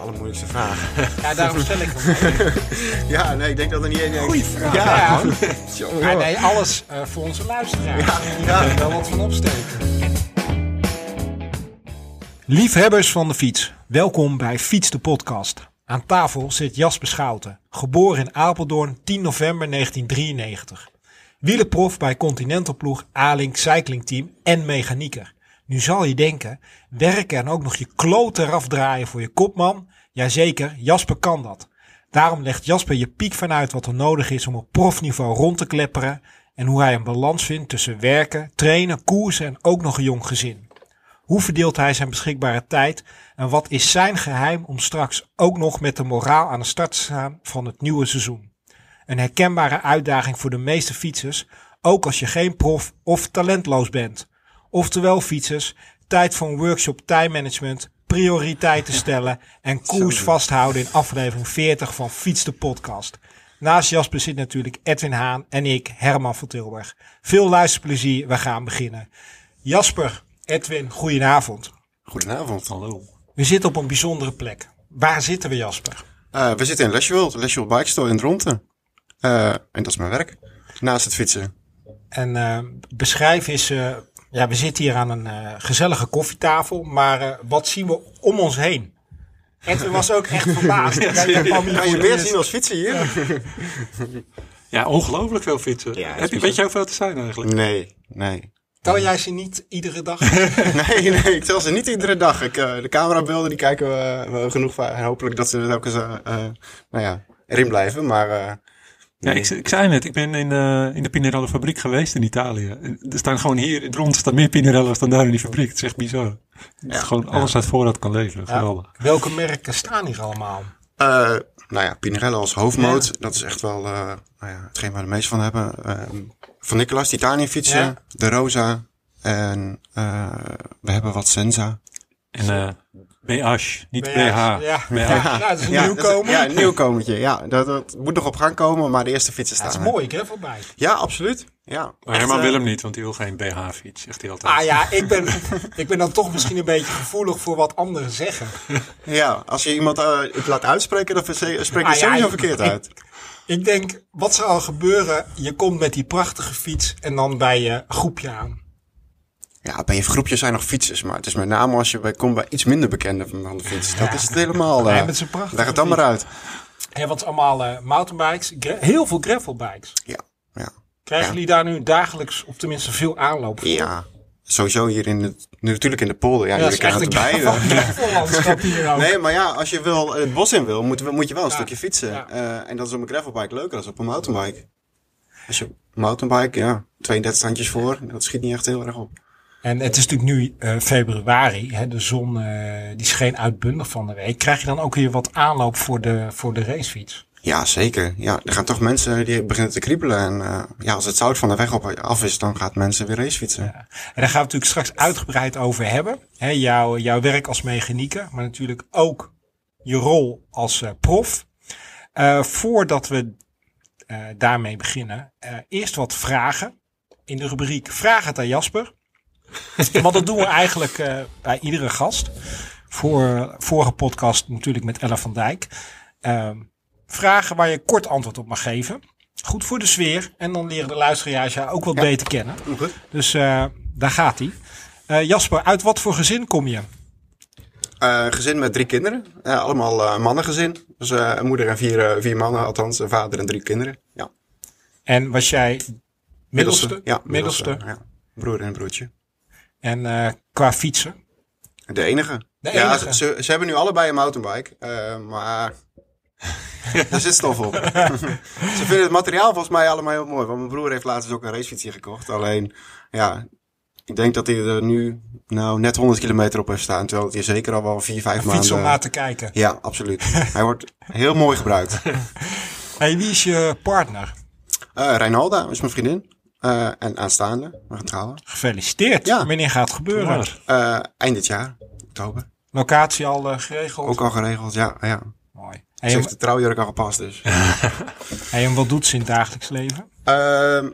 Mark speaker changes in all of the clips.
Speaker 1: allermoeilijkste vraag.
Speaker 2: Ja, daarom stel ik hem.
Speaker 1: ja, nee, ik denk dat er niet één...
Speaker 2: Goeie vraag.
Speaker 1: Ja,
Speaker 2: Ja.
Speaker 1: Tjonge,
Speaker 2: Maar
Speaker 1: joh.
Speaker 2: nee, alles eh, voor onze luisteraars.
Speaker 1: Ja,
Speaker 2: Ja,
Speaker 1: ja.
Speaker 2: Daar wel wat van opsteken. Liefhebbers van de fiets, welkom bij Fiets de Podcast. Aan tafel zit Jasper Schouten, geboren in Apeldoorn 10 november 1993. Wielenprof bij Continental ploeg A-Link Cycling Team en mechanieker. Nu zal je denken, werken en ook nog je kloot eraf draaien voor je kopman? Jazeker, Jasper kan dat. Daarom legt Jasper je piek vanuit wat er nodig is om op profniveau rond te klepperen en hoe hij een balans vindt tussen werken, trainen, koersen en ook nog een jong gezin. Hoe verdeelt hij zijn beschikbare tijd en wat is zijn geheim om straks ook nog met de moraal aan de start te staan van het nieuwe seizoen? Een herkenbare uitdaging voor de meeste fietsers, ook als je geen prof of talentloos bent. Oftewel fietsers, tijd voor een workshop tijdmanagement, prioriteiten stellen en koers vasthouden in aflevering 40 van Fiets de Podcast. Naast Jasper zit natuurlijk Edwin Haan en ik, Herman van Tilburg. Veel luisterplezier, we gaan beginnen. Jasper, Edwin, goedenavond.
Speaker 1: Goedenavond. Hallo.
Speaker 2: We zitten op een bijzondere plek. Waar zitten we, Jasper?
Speaker 1: Eh, we zitten in Lesjewil, de Lesjewil Bike Store in Dronten. Eh, en dat is mijn werk, naast het fietsen.
Speaker 2: En eh, beschrijf eens, eh, ja, we zitten hier aan een eh, gezellige koffietafel, maar eh, wat zien we om ons heen? Edwin was ook echt verbaasd. Ja,
Speaker 1: Kan je weer zien als fietsen hier?
Speaker 3: Ja, ongelooflijk veel fietsen.
Speaker 1: Ja, dat is
Speaker 3: Heb je, weet
Speaker 1: bizar.
Speaker 3: je hoeveel te zijn eigenlijk?
Speaker 1: Nee, nee.
Speaker 2: Tel jij ze niet iedere dag?
Speaker 1: Nee, nee, ik tel ze niet iedere dag. Ik, eh, de camerabeelden die kijken we, we genoeg van. En hopelijk dat ze er ook eens eh, eh, nou ja, erin blijven. Maar eh,
Speaker 3: Ja, ik, ik zei net, ik ben in, eh, in de Pinarello fabriek geweest in Italië. En Er staan gewoon hier in het rond staan meer Pinarello's dan daar in die fabriek. Het is echt bizar. Dat gewoon alles uit voorraad kan leveren. Geweldig.
Speaker 2: Welke merken staan hier allemaal?
Speaker 1: eh, nou ja, Pinarello als hoofdmoot. Dat is echt wel eh, nou ja, hetgeen waar we de meeste van hebben. Ehm, van Nicolas, Titanium fietsen,
Speaker 2: Ja.
Speaker 1: de Rosa. En eh, we hebben wat Senza.
Speaker 3: En eh BH, niet BH.
Speaker 2: Ja, ja. ja, dat is een
Speaker 1: Ja, dat
Speaker 2: nieuwkomer.
Speaker 1: is- Ja, een nieuwkomertje. Ja, dat, dat moet nog op gang komen, maar de eerste fietsen staan.
Speaker 2: dat is
Speaker 1: er.
Speaker 2: mooi, hè, voorbij.
Speaker 1: Ja, absoluut. Ja,
Speaker 3: Maar
Speaker 1: Echt,
Speaker 3: Herman
Speaker 1: eh,
Speaker 3: wil hem niet, want hij wil geen BH-fiets, zegt hij altijd.
Speaker 2: Ah ja, ik ben, ik ben dan toch misschien een beetje gevoelig voor wat anderen zeggen.
Speaker 1: Ja, als je iemand eh, het laat uitspreken, dan verse- spreek je
Speaker 2: Ah, ja,
Speaker 1: sowieso
Speaker 2: ik-
Speaker 1: verkeerd uit.
Speaker 2: Ik denk, wat zou er gebeuren? Je komt met die prachtige fiets en dan bij je groepje aan.
Speaker 1: Ja, bij je groepje zijn nog fietsers, maar het is met name als je bij, komt bij iets minder bekende van van de fiets. Dat is het helemaal. eh,
Speaker 2: Nee, met zijn prachtige
Speaker 1: leg het dan maar uit.
Speaker 2: Ja, want allemaal eh, mountainbikes, gra- heel veel gravelbikes.
Speaker 1: Ja, ja.
Speaker 2: Krijgen
Speaker 1: Ja.
Speaker 2: jullie daar nu dagelijks, of tenminste veel aanloop voor?
Speaker 1: ja. Sowieso hier in het, nu natuurlijk in de polder. Ja,
Speaker 2: dat
Speaker 1: jullie
Speaker 2: is
Speaker 1: kennen
Speaker 2: echt een
Speaker 1: het erbij.
Speaker 2: gravel- gravellandschap hier
Speaker 1: eh.
Speaker 2: ook.
Speaker 1: Nee, maar ja, als je wel het bos in wil, moet, moet je wel een stukje fietsen.
Speaker 2: ja.
Speaker 1: Eh, en dat is op een gravelbike leuker dan op een mountainbike. Als je op een mountainbike, ja, 32 standjes voor, dat schiet niet echt heel erg op.
Speaker 2: En het is natuurlijk nu eh, februari, hè, de zon eh, die scheen uitbundig van de week. Krijg je dan ook weer wat aanloop voor de, voor de racefiets?
Speaker 1: Ja, zeker. Ja, er gaan toch mensen die beginnen te kriebelen. En eh, ja, als het zout van de weg op, af is, dan gaat mensen weer racefietsen. Ja,
Speaker 2: En daar gaan we natuurlijk straks uitgebreid over hebben. Hè, jouw, jouw werk als mechanieker, maar natuurlijk ook je rol als eh, prof. Eh, voordat we eh, daarmee beginnen, eh, eerst wat vragen in de rubriek Vraag het aan Jasper. Want dat doen we eigenlijk eh, bij iedere gast. Voor, vorige podcast natuurlijk met Ella van Dijk. Ehm, vragen waar je kort antwoord op mag geven. Goed voor de sfeer. En dan leren de luisteraars jou ook wat beter kennen.
Speaker 1: goed.
Speaker 2: Dus eh, daar gaat hij. Eh, Jasper, uit wat voor gezin kom je?
Speaker 1: Eh, gezin met drie kinderen. Eh, allemaal eh, mannengezin. Dus eh, een moeder en vier, eh, vier mannen, althans een vader en drie kinderen. Ja.
Speaker 2: En was jij middelste?
Speaker 1: Ja, middelste. Ja. Broer en broertje.
Speaker 2: En eh, qua fietsen?
Speaker 1: De enige.
Speaker 2: De
Speaker 1: Ja,
Speaker 2: enige.
Speaker 1: ze, ze- ze hebben nu allebei een mountainbike, eh, maar daar zit stof op. ze vinden het materiaal volgens mij allemaal heel mooi. Want mijn broer heeft laatst dus ook een racefietsje gekocht. Alleen, ja, ik denk dat hij er nu nou net 100 kilometer op heeft staan. Terwijl het hier zeker al wel 4, 5
Speaker 2: Een
Speaker 1: maanden...
Speaker 2: fiets om naar te kijken.
Speaker 1: Ja, absoluut. Hij wordt heel mooi gebruikt.
Speaker 2: Hey, wie is je partner?
Speaker 1: Eh Reinalda is mijn vriendin. Eh, en aanstaande, we gaan trouwen.
Speaker 2: Gefeliciteerd.
Speaker 1: Ja.
Speaker 2: Wanneer gaat het gebeuren?
Speaker 3: Maar,
Speaker 1: Eh, eind dit jaar, oktober.
Speaker 2: Locatie al eh, geregeld?
Speaker 1: Ook al geregeld, ja. ja.
Speaker 2: Mooi.
Speaker 1: Ze
Speaker 2: Hey, en,
Speaker 1: heeft de trouwjurk al gepast dus.
Speaker 2: hey, en wat doet ze in het dagelijks leven?
Speaker 1: Ehm,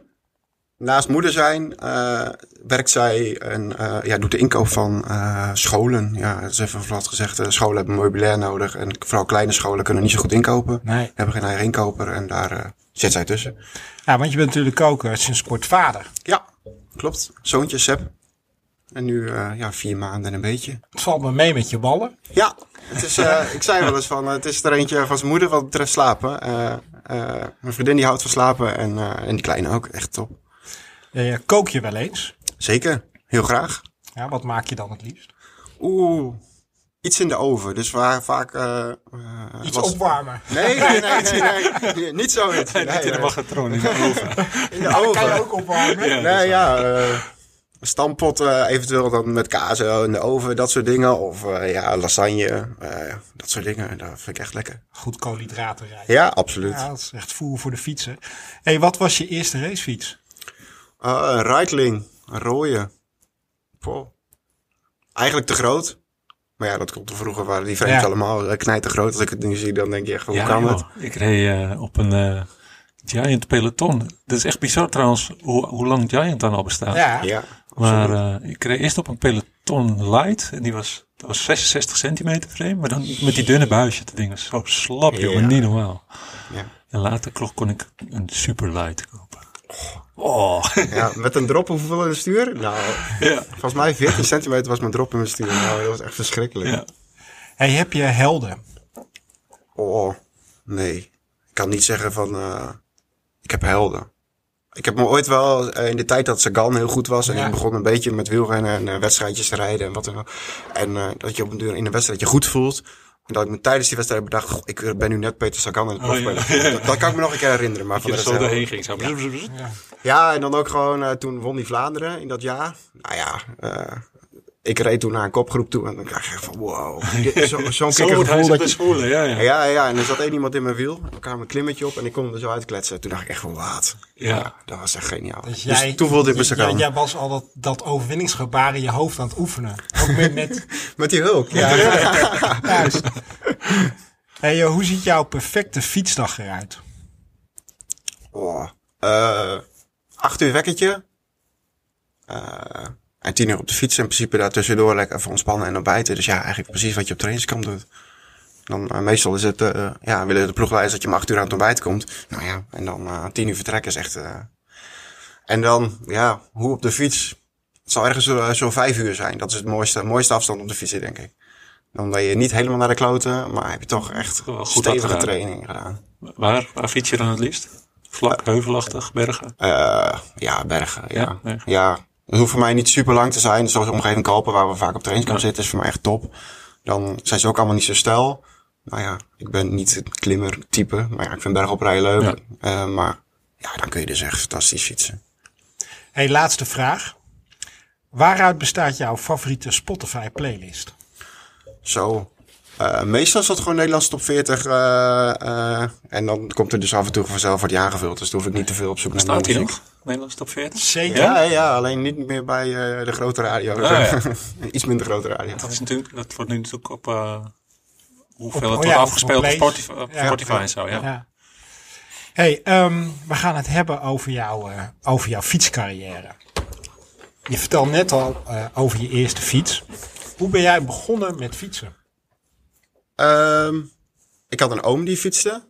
Speaker 1: naast moeder zijn eh, werkt zij en eh, ja, doet de inkoop van eh, scholen. Ja, dat is even plat gezegd. eh, scholen hebben meubilair nodig en vooral kleine scholen kunnen niet zo goed inkopen.
Speaker 2: Nee.
Speaker 1: Hebben geen eigen inkoper en daar eh, zit zij tussen.
Speaker 2: Ja, want je bent natuurlijk ook eh, sinds kort vader.
Speaker 1: Ja, klopt. Zoontje Seb. En nu eh, ja, vier maanden en een beetje.
Speaker 2: Het valt me mee met je ballen.
Speaker 1: Ja, het is, eh, ik zei wel eens van, eh, het is er eentje van zijn moeder wat betreft slapen. Eh, eh, mijn vriendin die houdt van slapen en, eh, en die kleine ook. Echt top.
Speaker 2: Eh, kook je wel eens?
Speaker 1: Zeker, heel graag.
Speaker 2: Ja, wat maak je dan het liefst?
Speaker 1: Oeh, iets in de oven. Dus waar vaak... eh, eh,
Speaker 2: Iets
Speaker 1: wat-
Speaker 2: opwarmen.
Speaker 1: Nee, nee, nee, nee, nee, nee, niet zo niet. Nee,
Speaker 3: Niet in de
Speaker 1: eh,
Speaker 3: magnetron, in de oven.
Speaker 1: in de oven.
Speaker 2: Kan je ook opwarmen?
Speaker 3: Ja. dat
Speaker 1: nee,
Speaker 3: is
Speaker 1: ja, eh, stampot eh, eventueel dan met kaas eh, in de oven, dat soort dingen. Of eh, ja, lasagne, eh, dat soort dingen. Dat vind ik echt lekker.
Speaker 2: Goed koolhydratenrijk.
Speaker 1: Ja, absoluut.
Speaker 2: Ja, dat is echt voer voor de fietsen. hey, wat was je eerste racefiets?
Speaker 1: Eh, een Reitling, een rode. Poh. Eigenlijk te groot. Maar ja, dat komt er vroeger waren die frames
Speaker 2: Ja.
Speaker 1: allemaal knijt te groot. Als ik het nu zie, dan denk je echt, hoe kan
Speaker 3: joh.
Speaker 1: dat?
Speaker 3: Ik reed eh, op een eh, Giant peloton. Dat is echt bizar trouwens, hoe, hoe lang Giant dan al
Speaker 1: Ah,
Speaker 3: bestaat.
Speaker 2: Ja,
Speaker 1: Ja,
Speaker 3: Maar
Speaker 1: absoluut.
Speaker 3: eh, ik reed eerst op een peloton light. En die was, dat was 66 centimeter frame. Maar dan met die dunne buisje. Dat ding was zo slap, jongen.
Speaker 1: Ja.
Speaker 3: Niet normaal.
Speaker 1: Ja.
Speaker 3: En later klopt, kon ik een super light kopen. Oh.
Speaker 1: ja, met een drop hoeveel in het stuur? Nou,
Speaker 3: ja.
Speaker 1: volgens mij 14 centimeter was mijn drop in mijn stuur. Nou, dat was echt verschrikkelijk.
Speaker 3: ja.
Speaker 2: Hey, heb je helden?
Speaker 1: Oh, nee. Ik kan niet zeggen van, eh, ik heb helden. Ik heb me ooit wel, eh, in de tijd dat Sagan heel goed was... en
Speaker 2: Ja.
Speaker 1: ik begon een beetje met wielrennen en eh, wedstrijdjes te rijden en wat dan ook. En eh, dat je op een duur in een wedstrijd je goed voelt... En dat ik me tijdens die wedstrijd bedacht, goh, ik ben nu net Peter Sagan aan het
Speaker 3: Oh, ja.
Speaker 1: profspelen. Dat, dat kan ik me nog een keer herinneren. Maar van
Speaker 3: Je
Speaker 1: de
Speaker 3: er
Speaker 1: rest
Speaker 3: zo
Speaker 1: helemaal-
Speaker 3: doorheen ging. Zo.
Speaker 1: ja, en dan ook gewoon, eh, toen won die Vlaanderen in dat jaar. Nou ja, eh, ik reed toen naar een kopgroep toe en dan dacht ik echt van wow. dit is zo- Zo'n
Speaker 3: Zo
Speaker 1: kikker
Speaker 3: wordt hij
Speaker 1: gevoel
Speaker 3: zich
Speaker 1: dat je...
Speaker 3: dus voelen. Ja, ja.
Speaker 1: Ja, ja, en er zat één iemand in mijn wiel. Ik kwam een klimmetje op en ik kon hem er zo uitkletsen. Toen dacht ik echt van, wat?
Speaker 3: Ja.
Speaker 1: Dat was echt geniaal.
Speaker 2: Dus
Speaker 1: Dus,
Speaker 2: jij,
Speaker 1: toen voelde ik me
Speaker 2: jij-
Speaker 1: Sagan.
Speaker 2: Jij was al dat, dat overwinningsgebaar in je hoofd aan het oefenen. Ook met, met
Speaker 1: Met die hulk, ja. ja.
Speaker 2: thuis. hey, joh, hoe ziet jouw perfecte fietsdag eruit?
Speaker 1: Oh. Eh, acht uur wekkertje. Eh, en tien uur op de fiets. In principe daartussendoor lekker even ontspannen en ontbijten. Dus ja, eigenlijk precies wat je op trainingskamp doet. Dan, eh, meestal is het, eh, ja, willen de ploegleiders dat je om acht uur aan het ontbijt komt. Nou ja, en dan eh, tien uur vertrekken is echt... eh, En dan, ja, hoe op de fiets? Het zal ergens eh, zo'n vijf uur zijn. Dat is het mooiste, mooiste afstand op de fiets, denk ik. Dan ben je niet helemaal naar de kloten, maar heb je toch echt
Speaker 3: Wel goed
Speaker 1: stevige
Speaker 3: afgedaan.
Speaker 1: training gedaan.
Speaker 3: Waar, waar fiets je dan het liefst? Vlak, heuvelachtig, bergen.
Speaker 1: Eh, ja, bergen. Ja.
Speaker 3: Ja,
Speaker 1: Ja,
Speaker 3: bergen.
Speaker 1: Het hoeft voor mij niet super lang te zijn. Zoals de omgeving Kalpen, waar we vaak op trainingskamp
Speaker 3: Ja.
Speaker 1: zitten, is voor mij echt top. Dan zijn ze ook allemaal niet zo stijl. Nou ja, ik ben niet het klimmertype. Maar ja, ik vind bergoprijden leuk.
Speaker 3: Ja.
Speaker 1: Eh, maar ja, dan kun je dus echt fantastisch fietsen.
Speaker 2: hey, laatste vraag. Waaruit bestaat jouw favoriete Spotify playlist?
Speaker 1: Zo. Eh, meestal is dat gewoon Nederlands top 40. eh, eh, en dan komt er dus af en toe vanzelf wat je aangevuld. Dus daar hoef ik niet te veel op zoek naar
Speaker 3: Staat hij
Speaker 1: muziek.
Speaker 3: nog? Nederlands top 40?
Speaker 2: Zeker.
Speaker 1: Ja, ja, alleen niet meer bij eh, de grote radio.
Speaker 3: Ah, ja.
Speaker 1: Iets minder grote radio.
Speaker 3: Dat, is natuurlijk, dat wordt nu natuurlijk op eh, hoeveel
Speaker 2: Op-
Speaker 3: het
Speaker 2: oh
Speaker 3: wordt
Speaker 2: ja, op
Speaker 3: afgespeeld op
Speaker 2: plays.
Speaker 3: Spotify, op
Speaker 2: Ja.
Speaker 3: Spotify en zo. Ja.
Speaker 2: Ja. Hey, ehm, we gaan het hebben over, jou, eh, over jouw fietscarrière. Je vertelde net al eh, over je eerste fiets. Hoe ben jij begonnen met fietsen?
Speaker 1: Ehm, ik had een oom die fietste.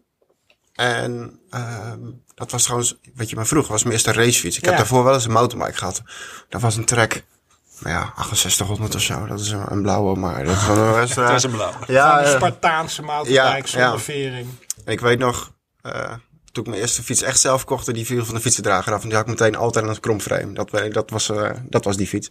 Speaker 1: En ehm, dat was trouwens, wat je me vroeg, was mijn eerste racefiets. Ik
Speaker 2: Ja.
Speaker 1: heb daarvoor wel eens een mountainbike gehad. Dat was een trek, nou ja, 6800 of zo. Dat is een, een blauwe, maar dat was een rest,
Speaker 3: Dat
Speaker 1: eh,
Speaker 3: is een blauwe.
Speaker 1: Ja,
Speaker 2: Van een
Speaker 1: eh,
Speaker 2: Spartaanse
Speaker 1: ja,
Speaker 2: mountainbike zonder
Speaker 1: ja.
Speaker 2: vering.
Speaker 1: en ik weet nog, eh, toen ik mijn eerste fiets echt zelf kocht, die viel van de fietsendrager af. En die had ik meteen altijd aan het kromframe. Dat, we- dat, was, eh, dat was die fiets.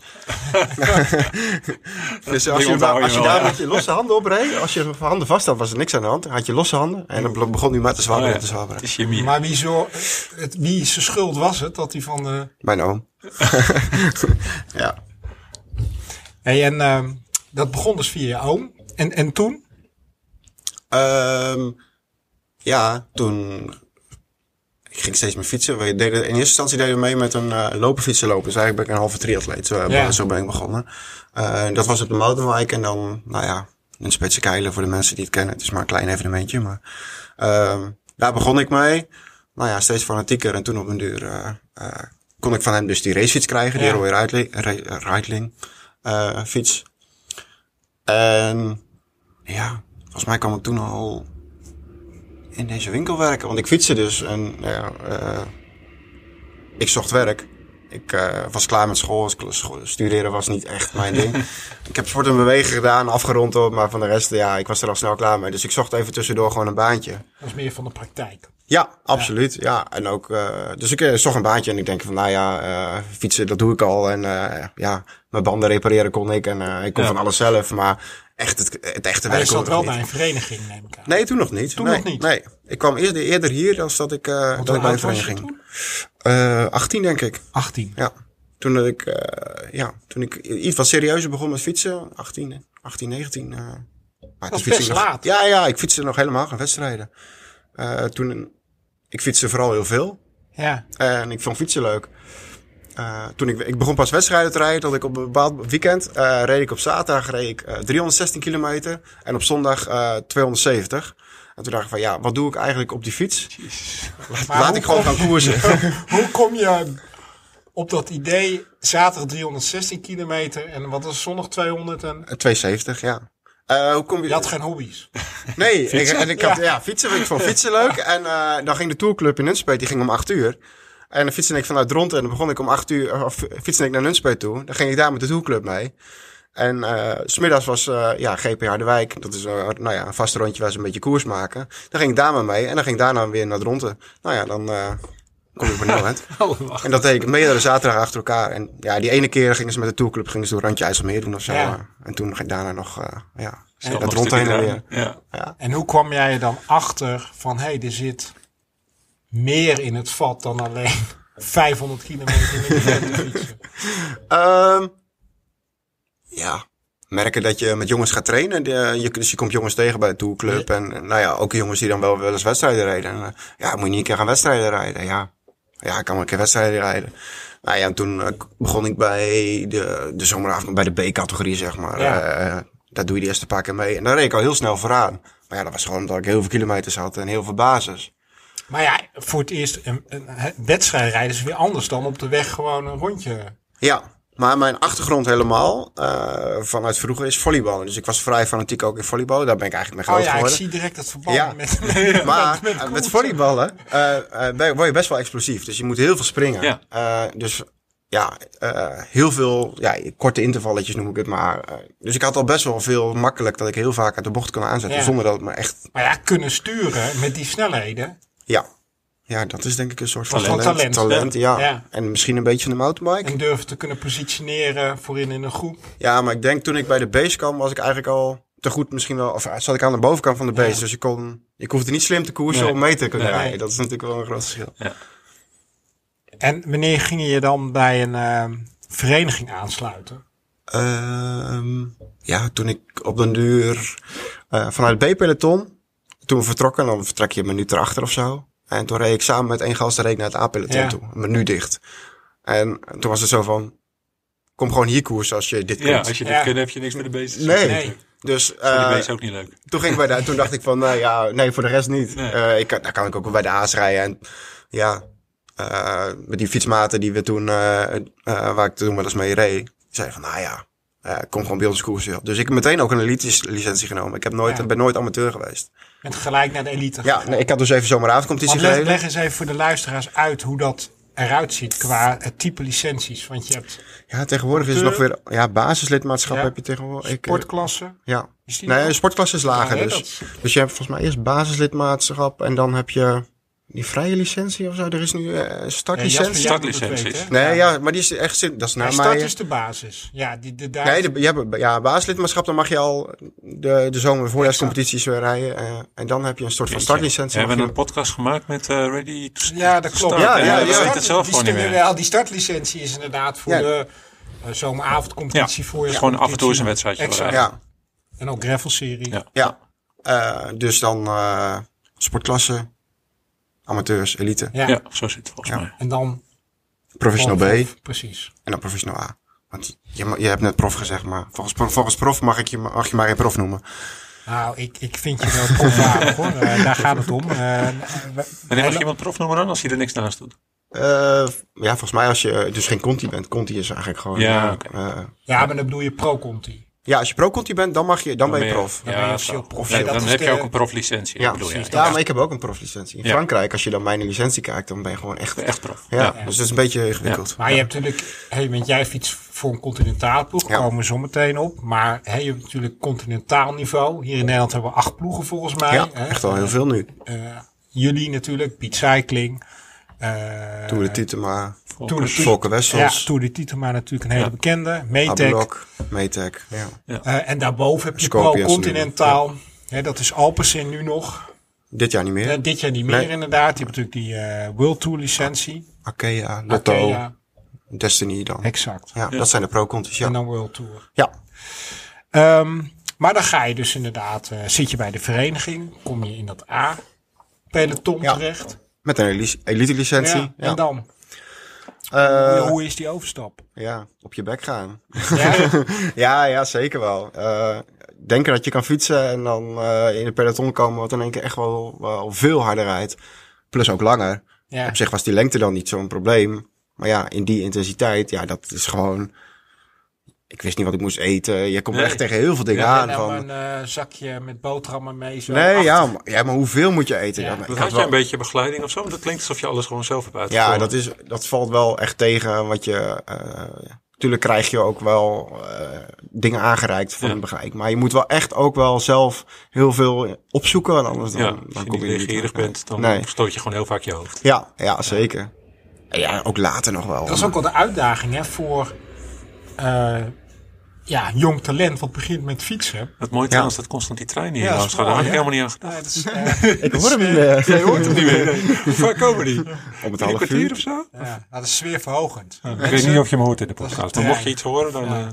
Speaker 1: dus als je,
Speaker 3: onthoud je
Speaker 1: als je
Speaker 3: wel,
Speaker 1: daar
Speaker 3: ja.
Speaker 1: met je losse handen op reed, als je handen vast had, was er niks aan de hand. Dan had je losse handen en dan begon hij maar te
Speaker 3: Oh,
Speaker 1: zwabberen
Speaker 3: ja.
Speaker 1: en te zwabberen.
Speaker 3: Het is Jimmy.
Speaker 2: Maar wie, zo, het, wie zijn schuld was het dat hij van de...
Speaker 1: Mijn oom. ja.
Speaker 2: Hey, en ehm, dat begon dus via je oom. En, en toen?
Speaker 1: Ehm, ja, toen... Ik ging steeds meer fietsen. We deden, in eerste instantie deden we mee met een eh lopen fietsen lopen. Dus eigenlijk ben ik een halve triatleet. Zo,
Speaker 2: Ja.
Speaker 1: zo ben ik begonnen. Eh, dat was op de mountainbike. En dan, nou ja, in Spitse Keilen voor de mensen die het kennen. Het is maar een klein evenementje. Maar ehm, daar begon ik mee. Nou ja, steeds fanatieker. En toen op een duur eh, eh, kon ik van hem dus die racefiets krijgen,
Speaker 2: Ja.
Speaker 1: die Roy Reitling, Re- Reitling eh, fiets. En ja, volgens mij kwam ik toen al in deze winkel werken. Want ik fietste dus en nou ja, eh, ik zocht werk. Ik eh, was klaar met school, dus kla- scho- studeren was niet echt mijn ding. ik heb sport en bewegen gedaan, afgerond op, maar van de rest, ja, ik was er al snel klaar mee. Dus ik zocht even tussendoor gewoon een baantje.
Speaker 2: Dat is meer van de praktijk.
Speaker 1: Ja, absoluut. Ja. En ook, eh, dus ik eh, zocht een baantje en ik denk van, nou ja, eh, fietsen, dat doe ik al. En eh, ja, mijn banden repareren kon ik en eh, ik kon
Speaker 3: Ja.
Speaker 1: van alles zelf. Maar echt het, het echte
Speaker 2: Hij
Speaker 1: werk kon
Speaker 2: zat
Speaker 1: ik
Speaker 2: wel
Speaker 1: nog
Speaker 2: bij
Speaker 1: niet.
Speaker 2: een vereniging, neem ik aan.
Speaker 1: Nee, toen nog niet.
Speaker 2: Toen
Speaker 1: nee,
Speaker 2: nog niet?
Speaker 1: Nee, ik kwam eerder, eerder hier dan dat ik, eh, dat ik bij een
Speaker 2: oud was je
Speaker 1: vereniging.
Speaker 2: toen?
Speaker 1: Eh 18 denk ik,
Speaker 2: 18.
Speaker 1: ja. Toen dat ik, eh, ja, toen ik iets wat serieuzer begon met fietsen, 18, 18 19. eh maar
Speaker 2: Dat
Speaker 1: toen
Speaker 2: is
Speaker 1: fietste ik
Speaker 2: best
Speaker 1: nog-
Speaker 2: laat.
Speaker 1: Ja, ja, ik fietste nog helemaal geen wedstrijden. Eh, toen, ik fietste vooral heel veel.
Speaker 2: Ja.
Speaker 1: En ik vond fietsen leuk. Eh, toen ik, ik begon pas wedstrijden te rijden, dat ik op een bepaald weekend eh, reed ik op zaterdag reed ik, eh, 316 kilometer en op zondag eh, 270. En toen dacht ik van ja, wat doe ik eigenlijk op die fiets?
Speaker 2: Maar
Speaker 1: Laat
Speaker 2: hoe
Speaker 1: ik gewoon
Speaker 2: kom-
Speaker 1: gaan koersen. Eh,
Speaker 2: Hoe kom je op dat idee zaterdag 316 kilometer en wat is zondag 200 en...
Speaker 1: 270, ja. Eh, hoe kom je?
Speaker 2: Je had geen hobby's.
Speaker 1: Nee, ik, en ik had, ja. fietsen, ik vond fietsen leuk. En eh, dan ging de tourclub in Nunspeet, die ging om 8 uur. En dan fietste ik vanuit Dronten en dan begon ik om 8 uur, of fietste ik naar Nunspeet toe. Dan ging ik daar met de tourclub mee. En eh, s smiddags was eh ja, GP Harderwijk, dat is eh, nou ja, een vast rondje waar ze een beetje koers maken. Dan ging ik daar maar mee en dan ging ik daarna weer naar Dronten. Nou ja, dan eh, kom ik op Nieuwland. en dat deed ik meerdere zaterdagen achter elkaar. En ja, die ene keer gingen ze met de tourclub gingen ze door Randje IJsselmeer doen of zo.
Speaker 2: Ja.
Speaker 1: En toen ging ik daarna nog eh ja,
Speaker 3: Snel nog
Speaker 1: naar
Speaker 3: een
Speaker 1: Dronten
Speaker 3: stukje
Speaker 1: heen en weer.
Speaker 3: rijden. Ja.
Speaker 2: En hoe kwam jij er dan achter van, hé, hey, er zit meer in het vat dan alleen 500 kilometer in de verte fietsen?
Speaker 1: Ehm ja, merken dat je met jongens gaat trainen. De- je, dus je komt jongens tegen bij de tourclub. En eh, nou ja, ook jongens die dan wel wel eens wedstrijden rijden. En, eh, ja, moet je niet een keer gaan wedstrijden rijden. Ja, ja ik kan wel een keer wedstrijden rijden. Nou ja, en toen eh, k- begon ik bij de, de zomeravond bij de B-categorie, zeg maar.
Speaker 2: Ja.
Speaker 1: Eh, daar doe je de eerste paar keer mee. En daar reed ik al heel snel vooraan. Maar ja, dat was gewoon omdat ik heel veel kilometers had en heel veel basis.
Speaker 2: Maar ja, voor het eerst een, een hè, wedstrijd rijden is weer anders dan op de weg gewoon een rondje.
Speaker 1: Ja, maar mijn achtergrond helemaal eh, vanuit vroeger is volleybal. Dus ik was vrij fanatiek ook in volleybal. Daar ben ik eigenlijk mee
Speaker 2: Oh
Speaker 1: groot
Speaker 2: ja, ik
Speaker 1: geworden.
Speaker 2: zie direct het verband
Speaker 1: Ja.
Speaker 2: met...
Speaker 1: Maar eh, met, volleyballen eh, eh, ben- word je best wel explosief. Dus je moet heel veel springen.
Speaker 3: Ja.
Speaker 1: Eh, dus ja, eh, heel veel ja, korte intervalletjes noem ik het maar. Eh, dus ik had al best wel veel makkelijk dat ik heel vaak uit de bocht kon aanzetten.
Speaker 2: Ja.
Speaker 1: Zonder dat het me echt...
Speaker 2: Maar ja, kunnen sturen met die snelheden.
Speaker 1: Ja. ja, dat is denk ik een soort van
Speaker 2: Talent.
Speaker 1: talent.
Speaker 2: Talent,
Speaker 1: ja.
Speaker 2: ja. Ja.
Speaker 1: En misschien een beetje van de mountainbike.
Speaker 2: En durven te kunnen positioneren voorin in een groep.
Speaker 1: Ja, maar ik denk toen ik bij de base kwam was ik eigenlijk al te goed misschien wel... Of eh, zat ik aan de bovenkant van de base. Dus ik, kon, ik hoefde niet slim te koersen
Speaker 3: Nee.
Speaker 1: om mee te kunnen
Speaker 3: Nee.
Speaker 1: rijden. Dat is natuurlijk wel een groot verschil.
Speaker 2: En wanneer ging je dan bij een eh, vereniging aansluiten?
Speaker 1: Ehm, ja, toen ik op den duur eh, vanuit het B-peloton, toen we vertrokken, dan vertrek je een minuut erachter of zo. En toen reed ik samen met één gast reed ik naar het A-peloton
Speaker 2: Ja.
Speaker 1: toe, een menu dicht. En toen was het zo van, kom gewoon hier koers als je dit
Speaker 3: Ja,
Speaker 1: kunt.
Speaker 3: als je dit
Speaker 2: Ja.
Speaker 3: kent, heb je niks met de beesten.
Speaker 1: Nee.
Speaker 2: Nee.
Speaker 1: Dus
Speaker 3: Voor
Speaker 1: eh,
Speaker 3: die beesten ook niet leuk.
Speaker 1: toen, ging ik bij de, toen dacht ik van, nou ja, nee, voor de rest niet.
Speaker 3: Nee.
Speaker 1: Eh, ik, kan- dan kan ik ook wel bij de A's rijden. En ja, eh, met die fietsmaten die we toen, eh, eh, waar ik toen wel eens mee reed, zei van, nou ja, eh, kom gewoon bij ons koersen. joh. Dus ik heb meteen ook een elites licentie genomen. Ik heb nooit,
Speaker 2: Ja.
Speaker 1: ben nooit amateur geweest.
Speaker 2: En gelijk naar de elite.
Speaker 1: Ja, nee, ik had dus even zomeravondcompetitie
Speaker 2: Want leg,
Speaker 1: gereden.
Speaker 2: leg eens even voor de luisteraars uit hoe dat eruit ziet qua het type licenties. Want je hebt
Speaker 1: Ja, tegenwoordig is het nog weer, ja, basislidmaatschap
Speaker 2: Ja.
Speaker 1: heb je tegenwoordig. Ik, eh,
Speaker 2: sportklassen.
Speaker 1: ja.
Speaker 2: Is die
Speaker 1: Nee,
Speaker 2: nog?
Speaker 1: de sportklasse is lager
Speaker 2: Ja, hè,
Speaker 1: dus. Dus je hebt volgens mij eerst basislidmaatschap en dan heb je die vrije licentie of zo. Er is nu eh startlicentie.
Speaker 2: Jasper, jij moet het
Speaker 3: Startlicenties.
Speaker 2: weten, hè?
Speaker 1: Nee, ja, maar die is echt zin. Dat is
Speaker 2: Ja,
Speaker 1: naar
Speaker 2: start
Speaker 1: mij.
Speaker 2: is de basis. Ja, die, de, daar,
Speaker 1: Nee, de, je hebt, ja, basislidmaatschap, dan mag je al de, de zomer- voorjaarscompetities weer rijden. eh, en dan heb je een soort van startlicentie.
Speaker 3: We hebben
Speaker 1: mag
Speaker 3: een podcast gemaakt met eh, Ready to
Speaker 2: ja, dat klopt.
Speaker 3: Start.
Speaker 1: Ja,
Speaker 3: En
Speaker 1: ja,
Speaker 3: we
Speaker 1: ja.
Speaker 3: weten
Speaker 2: die,
Speaker 3: het zelf gewoon niet
Speaker 2: stemmen
Speaker 3: meer.
Speaker 2: wel. die startlicentie is inderdaad voor
Speaker 1: Ja.
Speaker 2: de eh, zomeravondcompetitie.
Speaker 3: Ja,
Speaker 2: voor je
Speaker 3: gewoon af en toe eens een wedstrijdje
Speaker 1: je-
Speaker 2: Exact.
Speaker 3: willen
Speaker 1: ja,
Speaker 2: En ook gravelserie.
Speaker 3: Ja.
Speaker 1: ja. Eh, dus dan eh sportklasse, amateurs, elite,
Speaker 2: Ja.
Speaker 3: ja, zo zit het volgens mij.
Speaker 2: En dan...
Speaker 1: professional
Speaker 2: Oh,
Speaker 1: B en
Speaker 2: Precies.
Speaker 1: dan professional A. Want je, ma- je hebt net prof gezegd, maar volgens, pro- volgens prof mag, ik je, ma- mag je maar geen prof noemen.
Speaker 2: Nou, ik, ik vind je wel profalig hoor. Eh, daar gaat het om. Eh, we-
Speaker 3: En dan mag je iemand prof noemen dan als hij er niks naast doet.
Speaker 1: Eh, ja, volgens mij als je dus geen Conti bent. Conti is eigenlijk gewoon...
Speaker 3: Ja,
Speaker 1: eh,
Speaker 3: oké.
Speaker 1: eh,
Speaker 2: Ja, maar dan bedoel je pro-conti.
Speaker 1: ja, als je pro-Conti bent, dan, mag je, dan, ben je prof.
Speaker 2: Dan ben je officieel prof.
Speaker 3: officieel.
Speaker 2: Ja, dat
Speaker 3: dan
Speaker 2: is
Speaker 3: heb
Speaker 2: de-
Speaker 3: je ook een proflicentie.
Speaker 1: Ja,
Speaker 3: bedoel je.
Speaker 1: precies.
Speaker 3: Ja.
Speaker 1: Ja, maar ik heb ook een proflicentie. In
Speaker 3: Ja.
Speaker 1: Frankrijk, als je dan mijn licentie kijkt, dan ben je gewoon echt...
Speaker 3: Echt prof.
Speaker 1: Ja,
Speaker 3: Ja.
Speaker 1: dus dat is een beetje ingewikkeld.
Speaker 2: Maar je hebt natuurlijk, hey, want jij fietst voor een continentaal ploeg,
Speaker 1: Ja.
Speaker 2: komen we zo meteen op. Maar hey, je hebt natuurlijk continentaal niveau. Hier in Nederland hebben we acht ploegen volgens mij.
Speaker 1: Ja,
Speaker 2: hè.
Speaker 1: echt al heel veel nu.
Speaker 2: Eh, jullie natuurlijk, Piet Cycling. eh,
Speaker 1: Toen de Titema,
Speaker 2: Tour de Tiet-
Speaker 1: Volker
Speaker 2: Ja,
Speaker 1: Wessels,
Speaker 2: Tour de Tietema natuurlijk een hele bekende. Metec.
Speaker 1: Abelok, Metec. Ja.
Speaker 2: Eh, en daarboven heb je
Speaker 1: Scorpions
Speaker 2: Pro Continentaal. Hè, dat is Alpecin nu nog.
Speaker 1: Dit jaar niet meer.
Speaker 2: Eh, dit jaar niet meer
Speaker 1: Nee.
Speaker 2: inderdaad. Je hebt natuurlijk die eh, World Tour licentie.
Speaker 1: Arkea, Lotto,
Speaker 2: Arkea,
Speaker 1: Destiny dan.
Speaker 2: exact.
Speaker 1: Ja, dat zijn de pro-conties,
Speaker 2: En
Speaker 1: ja.
Speaker 2: dan World Tour.
Speaker 1: Ja,
Speaker 2: Ehm, maar dan ga je dus inderdaad, eh, zit je bij de vereniging, kom je in dat A-peloton
Speaker 1: Ja.
Speaker 2: terecht.
Speaker 1: met een eli- elite-licentie.
Speaker 2: Ja,
Speaker 1: Ja,
Speaker 2: En dan,
Speaker 1: Eh,
Speaker 2: hoe is die overstap?
Speaker 1: ja, op je bek gaan.
Speaker 2: Ja,
Speaker 1: ja, ja, zeker wel. Eh, denken dat je kan fietsen en dan eh, in een peloton komen wat in één keer echt wel, wel veel harder rijdt. Plus ook langer.
Speaker 2: ja.
Speaker 1: Op zich was die lengte dan niet zo'n probleem. Maar ja, in die intensiteit, ja, dat is gewoon... Ik wist niet wat ik moest eten. Je komt
Speaker 3: Nee.
Speaker 1: echt tegen heel veel dingen
Speaker 2: En
Speaker 1: aan.
Speaker 2: dan
Speaker 1: van,
Speaker 2: een eh, zakje met boterhammen mee. Zo
Speaker 1: nee,
Speaker 2: achter.
Speaker 1: ja maar, ja, maar hoeveel moet je eten?
Speaker 2: Ja.
Speaker 1: Ja,
Speaker 3: Dat
Speaker 1: ik
Speaker 3: had
Speaker 1: had
Speaker 3: je
Speaker 1: wel-
Speaker 3: een beetje begeleiding of zo? Want dat klinkt alsof je alles gewoon zelf hebt uitgevoerd.
Speaker 1: Ja, dat, is, dat valt wel echt tegen wat je. eh tuurlijk krijg je ook wel eh, dingen aangereikt van
Speaker 3: Ja.
Speaker 1: een begeleiding. Maar je moet wel echt ook wel zelf heel veel opzoeken. Want anders dan,
Speaker 3: Ja,
Speaker 1: dan
Speaker 3: als je
Speaker 1: kom
Speaker 3: niet
Speaker 1: je er niet
Speaker 3: leergierig
Speaker 1: uit.
Speaker 3: bent, dan
Speaker 1: Nee.
Speaker 3: stoot je gewoon heel vaak je hoofd.
Speaker 1: Ja, ja, zeker. En Ja, ook later nog wel.
Speaker 2: Dat is ook wel de uitdaging hè, voor eh, ja, jong talent wat begint met fietsen.
Speaker 3: Het mooie trouwens dat constant die trein hier
Speaker 2: Ja, dat
Speaker 3: langs
Speaker 2: is
Speaker 3: gaat. Daar had ik
Speaker 2: mooi, hè?
Speaker 3: helemaal niet aan gedacht.
Speaker 2: Nee, dat is, eh,
Speaker 1: ik hoor hem niet meer.
Speaker 3: Jij hoort hem niet meer. Hoe vaak komen die?
Speaker 1: Om het
Speaker 3: Een
Speaker 1: half
Speaker 3: kwartier
Speaker 1: uur.
Speaker 3: of zo?
Speaker 2: ja, dat is sfeerverhogend.
Speaker 3: Ik weet niet of je me hoort in de
Speaker 2: is
Speaker 3: podcast.
Speaker 2: een
Speaker 3: Maar mocht
Speaker 2: trein.
Speaker 3: je iets horen, dan... eh,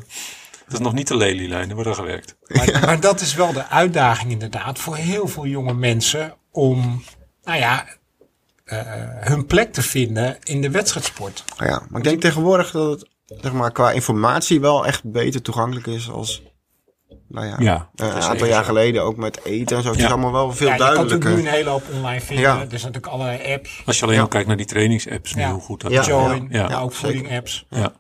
Speaker 3: dat is nog niet de lijn. er wordt al gewerkt.
Speaker 2: Maar, maar dat is wel de uitdaging inderdaad voor heel veel jonge mensen om, nou ja, eh, hun plek te vinden in de wedstrijdsport.
Speaker 1: Ja, maar ik denk tegenwoordig dat het zeg maar, qua informatie wel echt beter toegankelijk is als. Nou ja,
Speaker 3: Ja,
Speaker 1: eh, een aantal jaar geleden ook met eten en zo. Het is
Speaker 3: Ja.
Speaker 1: allemaal wel veel
Speaker 2: Ja, je kan natuurlijk
Speaker 1: duidelijker.
Speaker 2: nu een hele hoop online vinden.
Speaker 1: Ja.
Speaker 2: Er zijn natuurlijk allerlei apps,
Speaker 3: Als je alleen al kijkt naar die trainingsapps, nu,
Speaker 2: Ja.
Speaker 3: hoe goed dat
Speaker 1: Ja.
Speaker 3: is.
Speaker 2: join,
Speaker 3: Ja.
Speaker 2: maar ook
Speaker 1: Ja,
Speaker 2: voeding apps.
Speaker 3: Ja.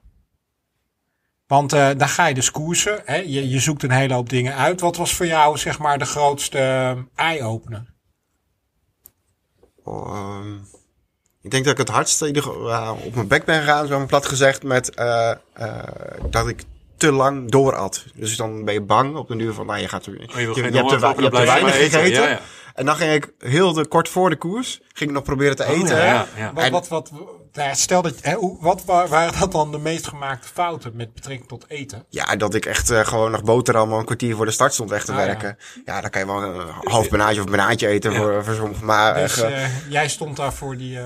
Speaker 2: Want eh daar ga je dus koersen. Hè? Je, je zoekt een hele hoop dingen uit. Wat was voor jou zeg maar de grootste eh, eye-opener?
Speaker 1: Ehm, ik denk dat ik het hardst in ieder geval, ja, op mijn bek ben gegaan, zo maar plat gezegd, met eh, eh, dat ik te lang door at. Dus dan ben je bang op de duur van, nou, je gaat er,
Speaker 3: Oh, je wil
Speaker 1: je,
Speaker 3: geen
Speaker 1: je hebt te,
Speaker 3: honger
Speaker 1: wa-
Speaker 3: hebben,
Speaker 1: je hebt te
Speaker 3: blijf je
Speaker 1: weinig
Speaker 3: maar eten.
Speaker 1: gegeten.
Speaker 3: Ja, ja.
Speaker 1: En dan ging ik heel de, kort voor de koers, ging ik nog proberen te eten.
Speaker 3: ja, Oh, ja, ja.
Speaker 2: Wat,
Speaker 1: En-
Speaker 2: wat, wat, nou ja, stel dat, hè, hoe- wat wa- waren dat dan de meest gemaakte fouten met betrekking tot eten?
Speaker 1: Ja, dat ik echt eh, gewoon nog boterhammen een kwartier voor de start stond weg te
Speaker 2: Ah, ja.
Speaker 1: werken. Ja. dan kan je wel een half banaantje of een banaantje eten voor, voor sommigen. Maar
Speaker 2: Dus
Speaker 1: echt, eh,
Speaker 2: eh, jij stond daar voor, die, eh,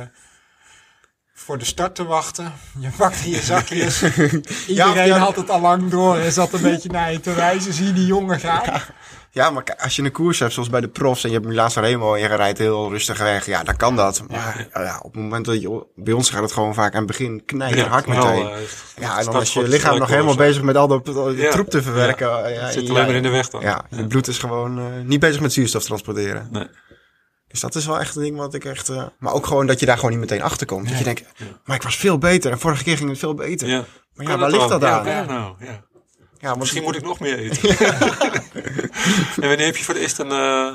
Speaker 2: voor de start te wachten. Je pakte je zakjes. Iedereen
Speaker 1: ja.
Speaker 2: had het al lang door en zat een beetje naar je te wijzen. Zie je die jongen gaan?
Speaker 1: Ja, maar kijk, als je een koers hebt, zoals bij de profs, en je hebt Milaan Remo en je rijdt heel rustig weg, ja, dan kan dat. Maar eh, ja. op het moment dat je, bij ons gaat het gewoon vaak aan het begin knijten hard
Speaker 3: eh,
Speaker 1: meteen. ja, en dan is je lichaam nog helemaal bezig met al dat dat
Speaker 3: Ja.
Speaker 1: troep te verwerken. eh,
Speaker 3: Ja.
Speaker 1: Ja,
Speaker 3: Het zit
Speaker 1: ja,
Speaker 3: alleen maar in de weg dan.
Speaker 1: Ja, het bloed is gewoon eh, niet bezig met zuurstof transporteren.
Speaker 3: Nee.
Speaker 1: Dus dat is wel echt een ding wat ik echt... eh, maar ook gewoon dat je daar gewoon niet meteen achter komt. Dat je denkt, maar ik was veel beter en vorige keer ging het veel beter. Ja,
Speaker 3: Ja.
Speaker 1: Maar ja, waar ligt dat
Speaker 3: dan?
Speaker 1: aan?
Speaker 3: Ja, nou, ja.
Speaker 1: want
Speaker 3: Misschien moet ik nog meer eten. en wanneer heb je voor het eerst een, eh,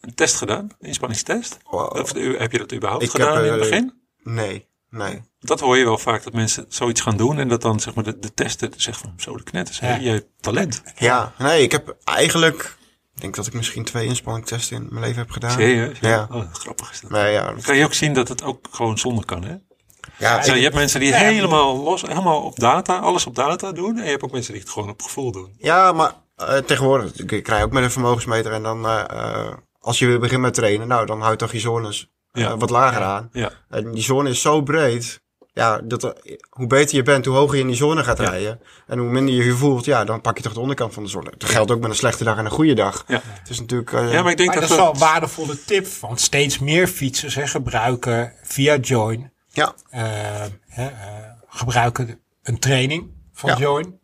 Speaker 3: een test gedaan? Een inspanningstest?
Speaker 1: Wow.
Speaker 3: Of u- heb je dat überhaupt
Speaker 1: Ik
Speaker 3: gedaan
Speaker 1: heb,
Speaker 3: in het
Speaker 1: eh,
Speaker 3: begin?
Speaker 1: Nee, nee.
Speaker 3: Dat hoor je wel vaak, dat mensen zoiets gaan doen. En dat dan zeg maar, de, de tester zegt van, zo de knetters, hè,
Speaker 2: Ja.
Speaker 3: je hebt talent.
Speaker 1: Ja, nee, ik heb eigenlijk... Ik denk dat ik misschien twee inspanningtesten in mijn leven heb gedaan.
Speaker 3: Serieus?
Speaker 1: Ja.
Speaker 3: Oh, grappig is dat.
Speaker 1: Nee, ja.
Speaker 3: Dan kan je ook zien dat het ook gewoon zonder kan, hè?
Speaker 1: Ja,
Speaker 3: Zo,
Speaker 1: ik-
Speaker 3: je hebt mensen die helemaal los, helemaal op data, alles op data doen. En je hebt ook mensen die het gewoon op gevoel doen.
Speaker 1: ja maar eh, tegenwoordig ik krijg je ook met een vermogensmeter. En dan, eh, eh, als je weer begint met trainen, nou, dan houdt toch je zones eh,
Speaker 3: Ja.
Speaker 1: wat lager aan.
Speaker 3: Ja.
Speaker 1: En die zone is zo breed. Ja, dat, er- hoe beter je bent, hoe hoger je in die zone gaat rijden. En hoe minder je je voelt, ja, dan pak je toch de onderkant van de zone. Dat geldt ook met een slechte dag en een goede dag.
Speaker 3: Ja.
Speaker 1: Het is natuurlijk... eh,
Speaker 3: Ja, maar ik denk
Speaker 2: Maar dat
Speaker 3: dat...
Speaker 2: is
Speaker 3: we-
Speaker 2: wel een waardevolle tip. Want steeds meer fietsers hè, gebruiken via Join.
Speaker 1: ja,
Speaker 2: eh, hè, eh, gebruiken een training van
Speaker 1: Ja.
Speaker 2: Join.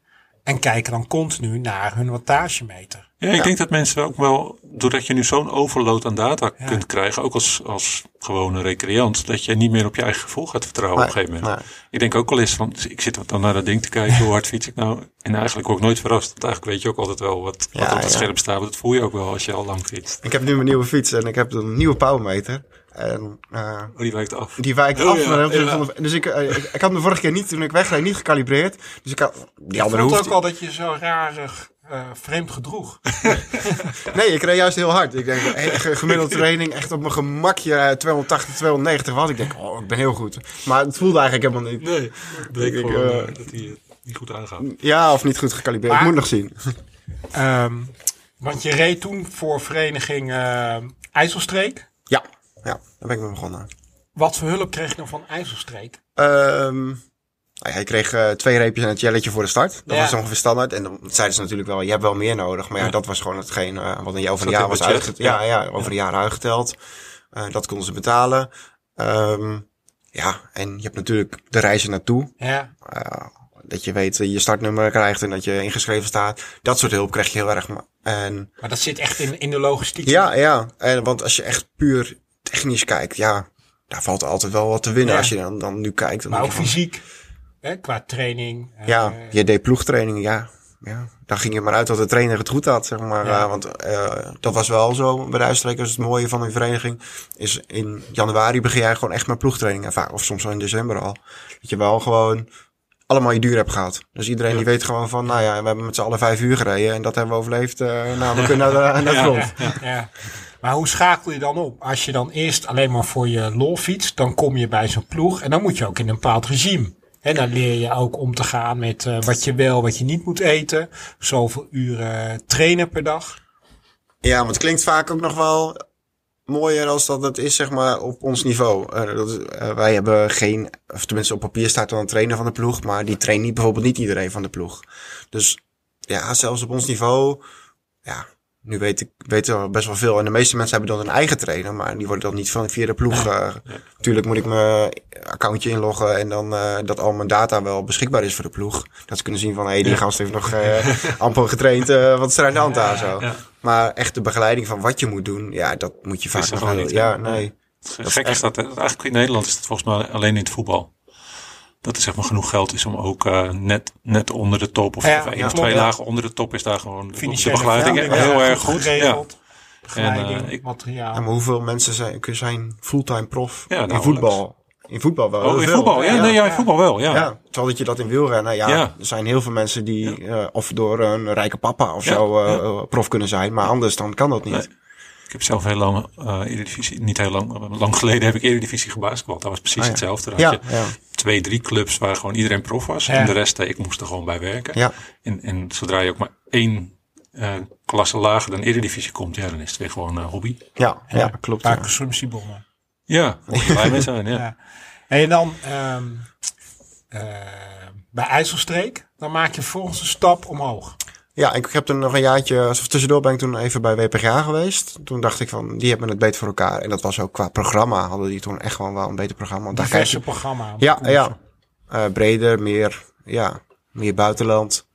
Speaker 2: En kijken dan continu naar hun wattagemeter.
Speaker 3: Ja, ik denk dat mensen ook wel, doordat je nu zo'n overload aan data kunt krijgen, ook als, als gewone recreant, dat je niet meer op je eigen gevoel gaat vertrouwen op een
Speaker 1: Nee,
Speaker 3: gegeven moment. Ik denk ook al eens van, ik zit dan naar dat ding te kijken, hoe hard fiets ik nou? En eigenlijk word ik nooit verrast, want eigenlijk weet je ook altijd wel wat, wat
Speaker 1: Ja,
Speaker 3: op het
Speaker 1: ja.
Speaker 3: scherm staat. want Dat voel je ook wel als je al lang fietst.
Speaker 1: Ik heb nu mijn nieuwe fiets en ik heb een nieuwe powermeter. En eh,
Speaker 3: Oh, die wijkt af.
Speaker 1: die wijkt
Speaker 3: Oh,
Speaker 1: af.
Speaker 3: ja,
Speaker 1: naar de helft
Speaker 3: ja.
Speaker 1: van de- dus ik, eh, ik, ik had hem de vorige keer niet, toen ik wegreed, niet gecalibreerd. Dus ik had, die andere hoeft
Speaker 2: ook al dat je zo rarig eh, vreemd gedroeg.
Speaker 1: Nee, ik reed juist heel hard. Ik denk, eh, ge- gemiddeld training echt op mijn gemakje eh, 280, 290 was. Ik denk, oh, ik ben heel goed. Maar het voelde eigenlijk helemaal niet.
Speaker 3: Nee, bleek
Speaker 1: Ik,
Speaker 3: gewoon
Speaker 1: eh,
Speaker 3: eh, dat hij het niet goed aangaat.
Speaker 1: Ja, of niet goed gecalibreerd.
Speaker 2: Maar-
Speaker 1: Moet nog zien.
Speaker 2: Ehm, want je reed toen voor vereniging eh, IJsselstreek.
Speaker 1: Ja, ja daar ben ik mee begonnen.
Speaker 2: Wat voor hulp kreeg je dan van IJsselstreek?
Speaker 1: Ehm, nou ja, ik kreeg eh, twee reepjes en een jelletje voor de start. Dat
Speaker 2: Ja.
Speaker 1: was ongeveer standaard. En dan zeiden ze natuurlijk wel, je hebt wel meer nodig. Maar ja, dat was gewoon hetgeen eh, wat in je over een
Speaker 3: Zat
Speaker 1: jaar
Speaker 3: in
Speaker 1: was
Speaker 3: budget,
Speaker 1: uitgeteld. Ja, ja, over een jaar uitgeteld. Eh, dat konden ze betalen. Ehm, ja, en je hebt natuurlijk de reizen naartoe.
Speaker 2: Ja,
Speaker 1: Eh, dat je weet eh, je startnummer krijgt en dat je ingeschreven staat. Dat soort hulp krijg je heel erg. ma- En
Speaker 2: maar dat zit echt in, in de logistiek.
Speaker 1: ja, ja. En, want als je echt puur technisch kijkt, ja, daar valt altijd wel wat te winnen
Speaker 2: Ja.
Speaker 1: als je dan, dan nu kijkt. Dan
Speaker 2: maar ook
Speaker 1: denk je van,
Speaker 2: fysiek. Hè, qua training. eh,
Speaker 1: Ja, je deed ploegtrainingen, ja. ja. Dan ging je maar uit dat de trainer het goed had, zeg maar.
Speaker 2: Ja.
Speaker 1: Eh, want eh, dat was wel zo bij de uitstrekkers. Het mooie van een vereniging is in januari begin jij gewoon echt met ploegtrainingen. En vaak- Of soms wel in december al. Dat je wel gewoon allemaal je duur hebt gehad. Dus iedereen die weet gewoon van, nou ja, we hebben met z'n allen vijf uur gereden. En dat hebben we overleefd. eh, nou, we kunnen naar de, naar de
Speaker 3: Ja.
Speaker 1: grond.
Speaker 2: ja, ja. Maar hoe schakel je dan op? Als je dan eerst alleen maar voor je lol fietst, dan kom je bij zo'n ploeg en dan moet je ook in een bepaald regime. En dan leer je ook om te gaan met eh, wat je wel, wat je niet moet eten. Zoveel uren trainen per dag.
Speaker 1: Ja, want het klinkt vaak ook nog wel mooier als dat het is, zeg maar, op ons niveau. Eh, dat is, eh, wij hebben geen, of tenminste op papier staat dan een trainer van de ploeg, maar die traint niet, bijvoorbeeld niet iedereen van de ploeg. Dus ja, zelfs op ons niveau, ja, nu weet ik, weten we best wel veel. En de meeste mensen hebben dan een eigen trainer, maar die worden dan niet van, via de ploeg. eh, Tuurlijk moet ik mijn accountje inloggen en dan eh, dat al mijn data wel beschikbaar is voor de ploeg. Dat ze kunnen zien van, hé, hey, die gast heeft nog eh, amper getraind, eh, wat is er aan de hand daar zo.
Speaker 3: ja.
Speaker 1: Maar echt de begeleiding van wat je moet doen, ja, dat moet je vaak
Speaker 3: er
Speaker 1: nog
Speaker 3: gewoon
Speaker 1: wel-
Speaker 3: niet, hè?
Speaker 1: Ja, nee.
Speaker 3: Het gek is dat, hè, eigenlijk in Nederland is het volgens mij alleen in het voetbal. Dat er zeg maar genoeg geld is om ook eh, net, net onder de top of,
Speaker 2: Ja,
Speaker 3: of één
Speaker 2: ja,
Speaker 3: of
Speaker 2: klopt,
Speaker 3: twee
Speaker 2: ja.
Speaker 3: lagen onder de top is daar gewoon de- de
Speaker 2: Financiële
Speaker 3: begeleiding
Speaker 2: verhouding,
Speaker 3: heel
Speaker 2: ja,
Speaker 3: erg goed. Ja.
Speaker 2: geregeld. Begeleiding,
Speaker 3: En, eh, ik-
Speaker 1: Ja,
Speaker 2: materiaal.
Speaker 1: maar hoeveel mensen zijn, kun- zijn fulltime prof
Speaker 3: Ja,
Speaker 1: in
Speaker 3: nauwelijks.
Speaker 1: voetbal? In voetbal wel. heel
Speaker 3: Oh, in
Speaker 1: veel.
Speaker 3: voetbal, ja, nee, ja, in
Speaker 2: Ja.
Speaker 3: voetbal wel, ja.
Speaker 1: Ja, terwijl dat je dat in wielrennen, ja,
Speaker 3: Ja.
Speaker 1: er zijn heel veel mensen die eh, of door een rijke papa of zo eh, eh, prof kunnen zijn, maar anders dan kan dat niet.
Speaker 3: Nee. Ik heb zelf heel lang eh Eredivisie, niet heel lang, maar lang geleden heb ik Eredivisie gebasketbald. Dat was precies
Speaker 1: Ah, ja.
Speaker 3: hetzelfde. Dan
Speaker 1: Ja,
Speaker 3: had je
Speaker 1: ja,
Speaker 3: twee, drie clubs waar gewoon iedereen prof was.
Speaker 2: Ja.
Speaker 3: En de rest, eh, ik moest er gewoon bij werken.
Speaker 1: ja,
Speaker 3: En, en zodra je ook maar één eh, klasse lager dan Eredivisie komt, ja, dan is het weer gewoon een hobby.
Speaker 1: ja, ja, klopt.
Speaker 2: Een paar
Speaker 1: Ja.
Speaker 2: consumptiebonnen.
Speaker 3: Ja, moet je blij mee zijn, ja.
Speaker 2: Ja. En dan ehm, eh, bij IJsselstreek, dan maak je volgens een stap omhoog.
Speaker 1: Ja, ik heb toen nog een jaartje, of tussendoor ben ik toen even bij WPGA geweest. Toen dacht ik van, die hebben het beter voor elkaar. En dat was ook qua programma, hadden die toen echt gewoon wel een beter programma. Want daar kijk
Speaker 2: Diverse
Speaker 1: je,
Speaker 2: programma.
Speaker 1: ja, ja. Eh, breder, meer, ja, meer buitenland.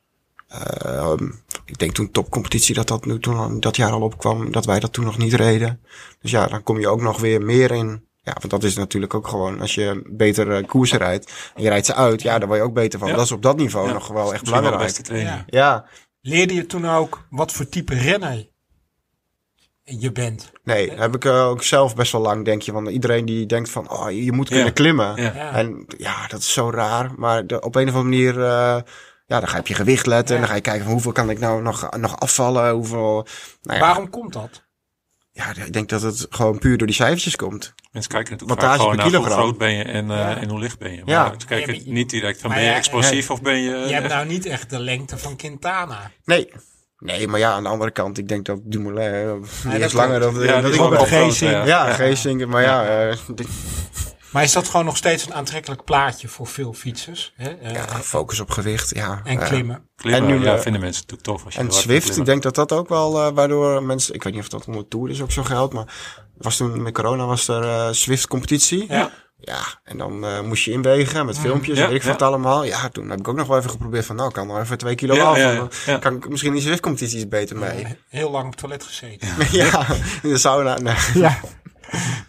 Speaker 1: Ehm, ik denk toen topcompetitie dat dat nu toen al- dat jaar al opkwam, dat wij dat toen nog niet reden. Dus ja, dan kom je ook nog weer meer in. Ja, want dat is natuurlijk ook gewoon, als je beter eh, koersen rijdt en je rijdt ze uit, ja, daar word je ook beter van.
Speaker 3: Ja.
Speaker 1: Dat is op dat niveau
Speaker 3: Ja.
Speaker 1: nog wel echt
Speaker 3: Misschien wel de
Speaker 1: belangrijk.
Speaker 3: beste trainer.
Speaker 2: Ja.
Speaker 1: ja,
Speaker 2: Leerde je toen ook wat voor type renner je bent?
Speaker 1: Nee, heb ik eh, ook zelf best wel lang, denk je. Want iedereen die denkt van, oh, je moet kunnen
Speaker 3: Ja.
Speaker 1: klimmen.
Speaker 3: Ja.
Speaker 2: Ja.
Speaker 1: En ja, dat is zo raar. Maar de- op een of andere manier, eh, ja, dan ga je op je gewicht letten. En
Speaker 2: Ja.
Speaker 1: dan ga je kijken van hoeveel kan ik nou nog, nog afvallen. Hoeveel, nou ja,
Speaker 2: Waarom komt dat?
Speaker 1: ja, ik denk dat het gewoon puur door die cijfertjes komt.
Speaker 3: Mensen kijken natuurlijk
Speaker 1: Wattage
Speaker 3: vaak gewoon
Speaker 1: per
Speaker 3: naar hoe
Speaker 1: kilogram.
Speaker 3: groot ben je en, eh,
Speaker 2: Ja.
Speaker 3: en hoe licht ben je. Maar
Speaker 1: Ja.
Speaker 3: ze kijken
Speaker 2: Ja, maar-
Speaker 3: niet direct van
Speaker 2: Maar
Speaker 3: ben je
Speaker 2: ja,
Speaker 3: explosief of ben je...
Speaker 2: Je hebt
Speaker 3: eh,
Speaker 2: nou niet echt de lengte van Quintana.
Speaker 1: Nee. Nee, maar ja, aan de andere kant, ik denk dat Dumoulin eh, die
Speaker 2: dat
Speaker 1: is langer dan,
Speaker 3: ja,
Speaker 1: dan
Speaker 3: dat is
Speaker 1: ik
Speaker 3: ook
Speaker 2: Robert
Speaker 1: ben.
Speaker 3: wel groot. eh,
Speaker 2: Geesing.
Speaker 3: ja.
Speaker 1: Ja, Geesink, maar ja, eh,
Speaker 2: Maar is dat gewoon nog steeds een aantrekkelijk plaatje voor veel fietsers? Hè? Eh,
Speaker 1: ja, Ah, focus op gewicht, ja.
Speaker 2: en
Speaker 1: Eh,
Speaker 2: klimmen.
Speaker 3: Klimmen,
Speaker 1: En nu,
Speaker 3: ja,
Speaker 1: eh,
Speaker 3: vinden mensen natuurlijk tof als je
Speaker 1: En
Speaker 3: heel hard
Speaker 1: Zwift,
Speaker 3: kan
Speaker 1: ik
Speaker 3: klimmen.
Speaker 1: denk dat dat ook wel eh, waardoor mensen... eh, Ik weet niet of dat onder Tour is ook zo geldt, maar... Was toen met corona was er Zwift competitie.
Speaker 2: Ja.
Speaker 1: Ja, en dan eh, moest je inwegen met filmpjes,
Speaker 3: ja,
Speaker 1: weet ik veel
Speaker 3: ja.
Speaker 1: wat allemaal. Ja, toen heb ik ook nog wel even geprobeerd van, nou, ik kan nog even twee kilo
Speaker 3: Ja,
Speaker 1: af.
Speaker 3: ja,
Speaker 1: Dan
Speaker 3: ja.
Speaker 1: Kan ik misschien in de zwiftcompetitie iets beter mee.
Speaker 2: Heel lang op het toilet gezeten.
Speaker 1: ja, in de sauna. Nee.
Speaker 2: Ja.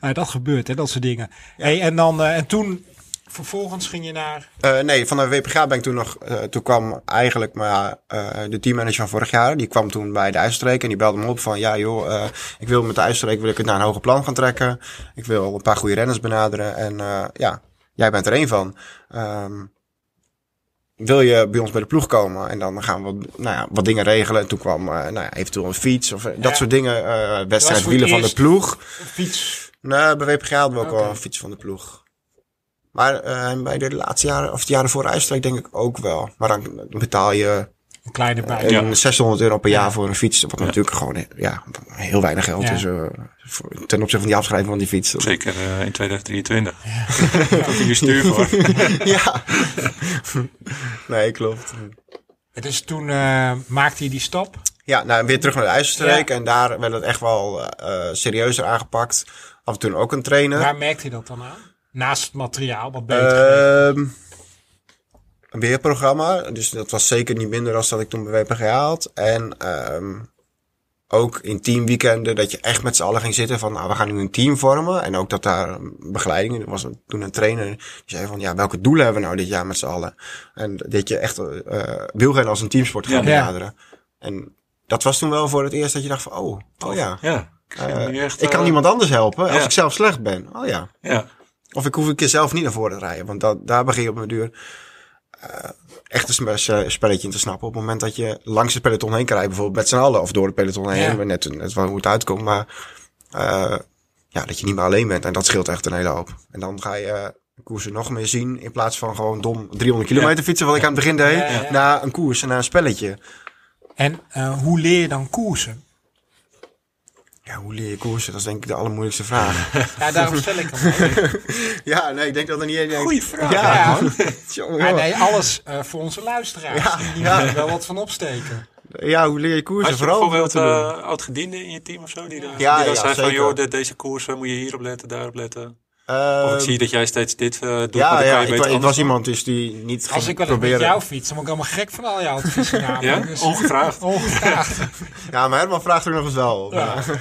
Speaker 2: Nou, dat gebeurt, hè, dat soort dingen. Hey, en, dan, eh, en toen, vervolgens ging je naar...
Speaker 1: Eh, nee, van de WPG ben ik toen nog... eh, toen kwam eigenlijk maar, eh, de teammanager van vorig jaar. Die kwam toen bij de ijsstreek en die belde me op van... Ja joh, eh, ik wil met de ijsstreek wil ik het naar een hoger plan gaan trekken. Ik wil een paar goede renners benaderen. En eh, ja, jij bent er één van. Ehm, wil je bij ons bij de ploeg komen? En dan gaan we nou ja, wat dingen regelen. En toen kwam eh, nou ja, eventueel een fiets of eh, dat
Speaker 2: Ja.
Speaker 1: soort dingen. eh wedstrijd
Speaker 2: voor het
Speaker 1: wielen van de
Speaker 2: eerst.
Speaker 1: ploeg.
Speaker 2: Fiets.
Speaker 1: Nou, bij WPG hadden we ook
Speaker 2: Oké.
Speaker 1: wel een fiets van de ploeg. Maar eh, bij de laatste jaren, of de jaren voor Uitstreek denk ik ook wel. Maar dan betaal je
Speaker 2: Een kleine bij.
Speaker 1: eh,
Speaker 3: Ja.
Speaker 1: 600 euro per jaar voor een fiets. Wat natuurlijk gewoon ja, heel weinig geld
Speaker 2: Ja.
Speaker 1: is eh, voor- ten opzichte van die afschrijving van die fiets.
Speaker 3: Zeker eh, in 2023. Tot in je stuur voor.
Speaker 1: ja. nee, klopt.
Speaker 2: Dus toen eh, maakte je die stap.
Speaker 1: Ja, nou, weer terug naar de IJsselstreek.
Speaker 2: Ja.
Speaker 1: En daar werd het echt wel eh, eh, serieuzer aangepakt. Af en toe ook een trainer.
Speaker 2: Waar merkte je dat dan aan? Naast het materiaal, wat beter. geweest?
Speaker 1: Ehm een weerprogramma. Dus dat was zeker niet minder dan dat ik toen bij WPG had. En ehm, ook in teamweekenden dat je echt met z'n allen ging zitten van... Nou, we gaan nu een team vormen. En ook dat daar een begeleiding... Er was een- toen een trainer die zei van... Ja, welke doelen hebben we nou dit jaar met z'n allen? En dat je echt eh wielrennen als een teamsport gaat
Speaker 2: Ja. Ja.
Speaker 1: benaderen. En dat was toen wel voor het eerst dat je dacht van... Oh, oh ja.
Speaker 3: Ja. Ik,
Speaker 1: eh,
Speaker 3: zie nu echt,
Speaker 1: ik kan
Speaker 3: eh,
Speaker 1: iemand anders helpen als
Speaker 3: ja.
Speaker 1: ik zelf slecht ben. Oh ja.
Speaker 3: Ja.
Speaker 1: Of ik hoef een keer zelf niet naar voren te rijden. Want dat, daar begin je op mijn duur eh, echt een spe- eh, spelletje in te snappen. Op het moment dat je langs het peloton heen krijgt. Bijvoorbeeld met z'n allen. Of door het peloton heen.
Speaker 2: Ja.
Speaker 1: Net, net wel hoe het uitkomt. Maar eh, ja, dat je niet meer alleen bent. En dat scheelt echt een hele hoop. En dan ga je eh, koersen nog meer zien. In plaats van gewoon dom 300 kilometer fietsen. Wat ik aan het begin deed.
Speaker 2: Ja, ja.
Speaker 1: Na een koers en na een spelletje.
Speaker 2: En eh, hoe leer je dan koersen?
Speaker 1: Ja, hoe leer je koersen? Dat is denk ik de allermoeilijkste vraag.
Speaker 2: Ja, daarom stel ik hem.
Speaker 1: ja, nee, ik denk dat er niet één denkt.
Speaker 3: Goeie vraag.
Speaker 1: Ja,
Speaker 2: Ja.
Speaker 1: man.
Speaker 2: Ja,
Speaker 1: Jongen,
Speaker 2: nee, alles eh, voor onze luisteraars.
Speaker 1: Ja,
Speaker 2: Die
Speaker 1: ja.
Speaker 2: moeten er wel wat van opsteken.
Speaker 1: ja, hoe leer je koersen?
Speaker 3: Had je
Speaker 1: Vooral
Speaker 3: bijvoorbeeld
Speaker 1: te doen.
Speaker 3: eh oud-gedienden in je team of zo? Die, daar,
Speaker 1: Ja,
Speaker 3: die dan
Speaker 1: ja,
Speaker 3: zei van,
Speaker 1: zeker.
Speaker 3: joh, de- deze koers eh, moet je hierop letten, daarop letten. Of ik
Speaker 1: Ehm,
Speaker 3: zie dat jij steeds dit eh doet, maar
Speaker 1: ja,
Speaker 3: dan
Speaker 1: ja
Speaker 3: kan je
Speaker 1: ik, wa-
Speaker 3: beter
Speaker 1: ik
Speaker 3: anders
Speaker 1: was iemand dus die niet ging
Speaker 2: Als ik wel eens met
Speaker 1: proberen.
Speaker 2: jou fiets, dan word ik helemaal gek van al jouw adviezen.
Speaker 3: Ja,
Speaker 2: namelijk. Dus-
Speaker 3: ongevraagd.
Speaker 2: Ongevraagd.
Speaker 1: Ja, maar Herman vraagt er nog eens wel. op.
Speaker 2: Ja.
Speaker 1: Nee,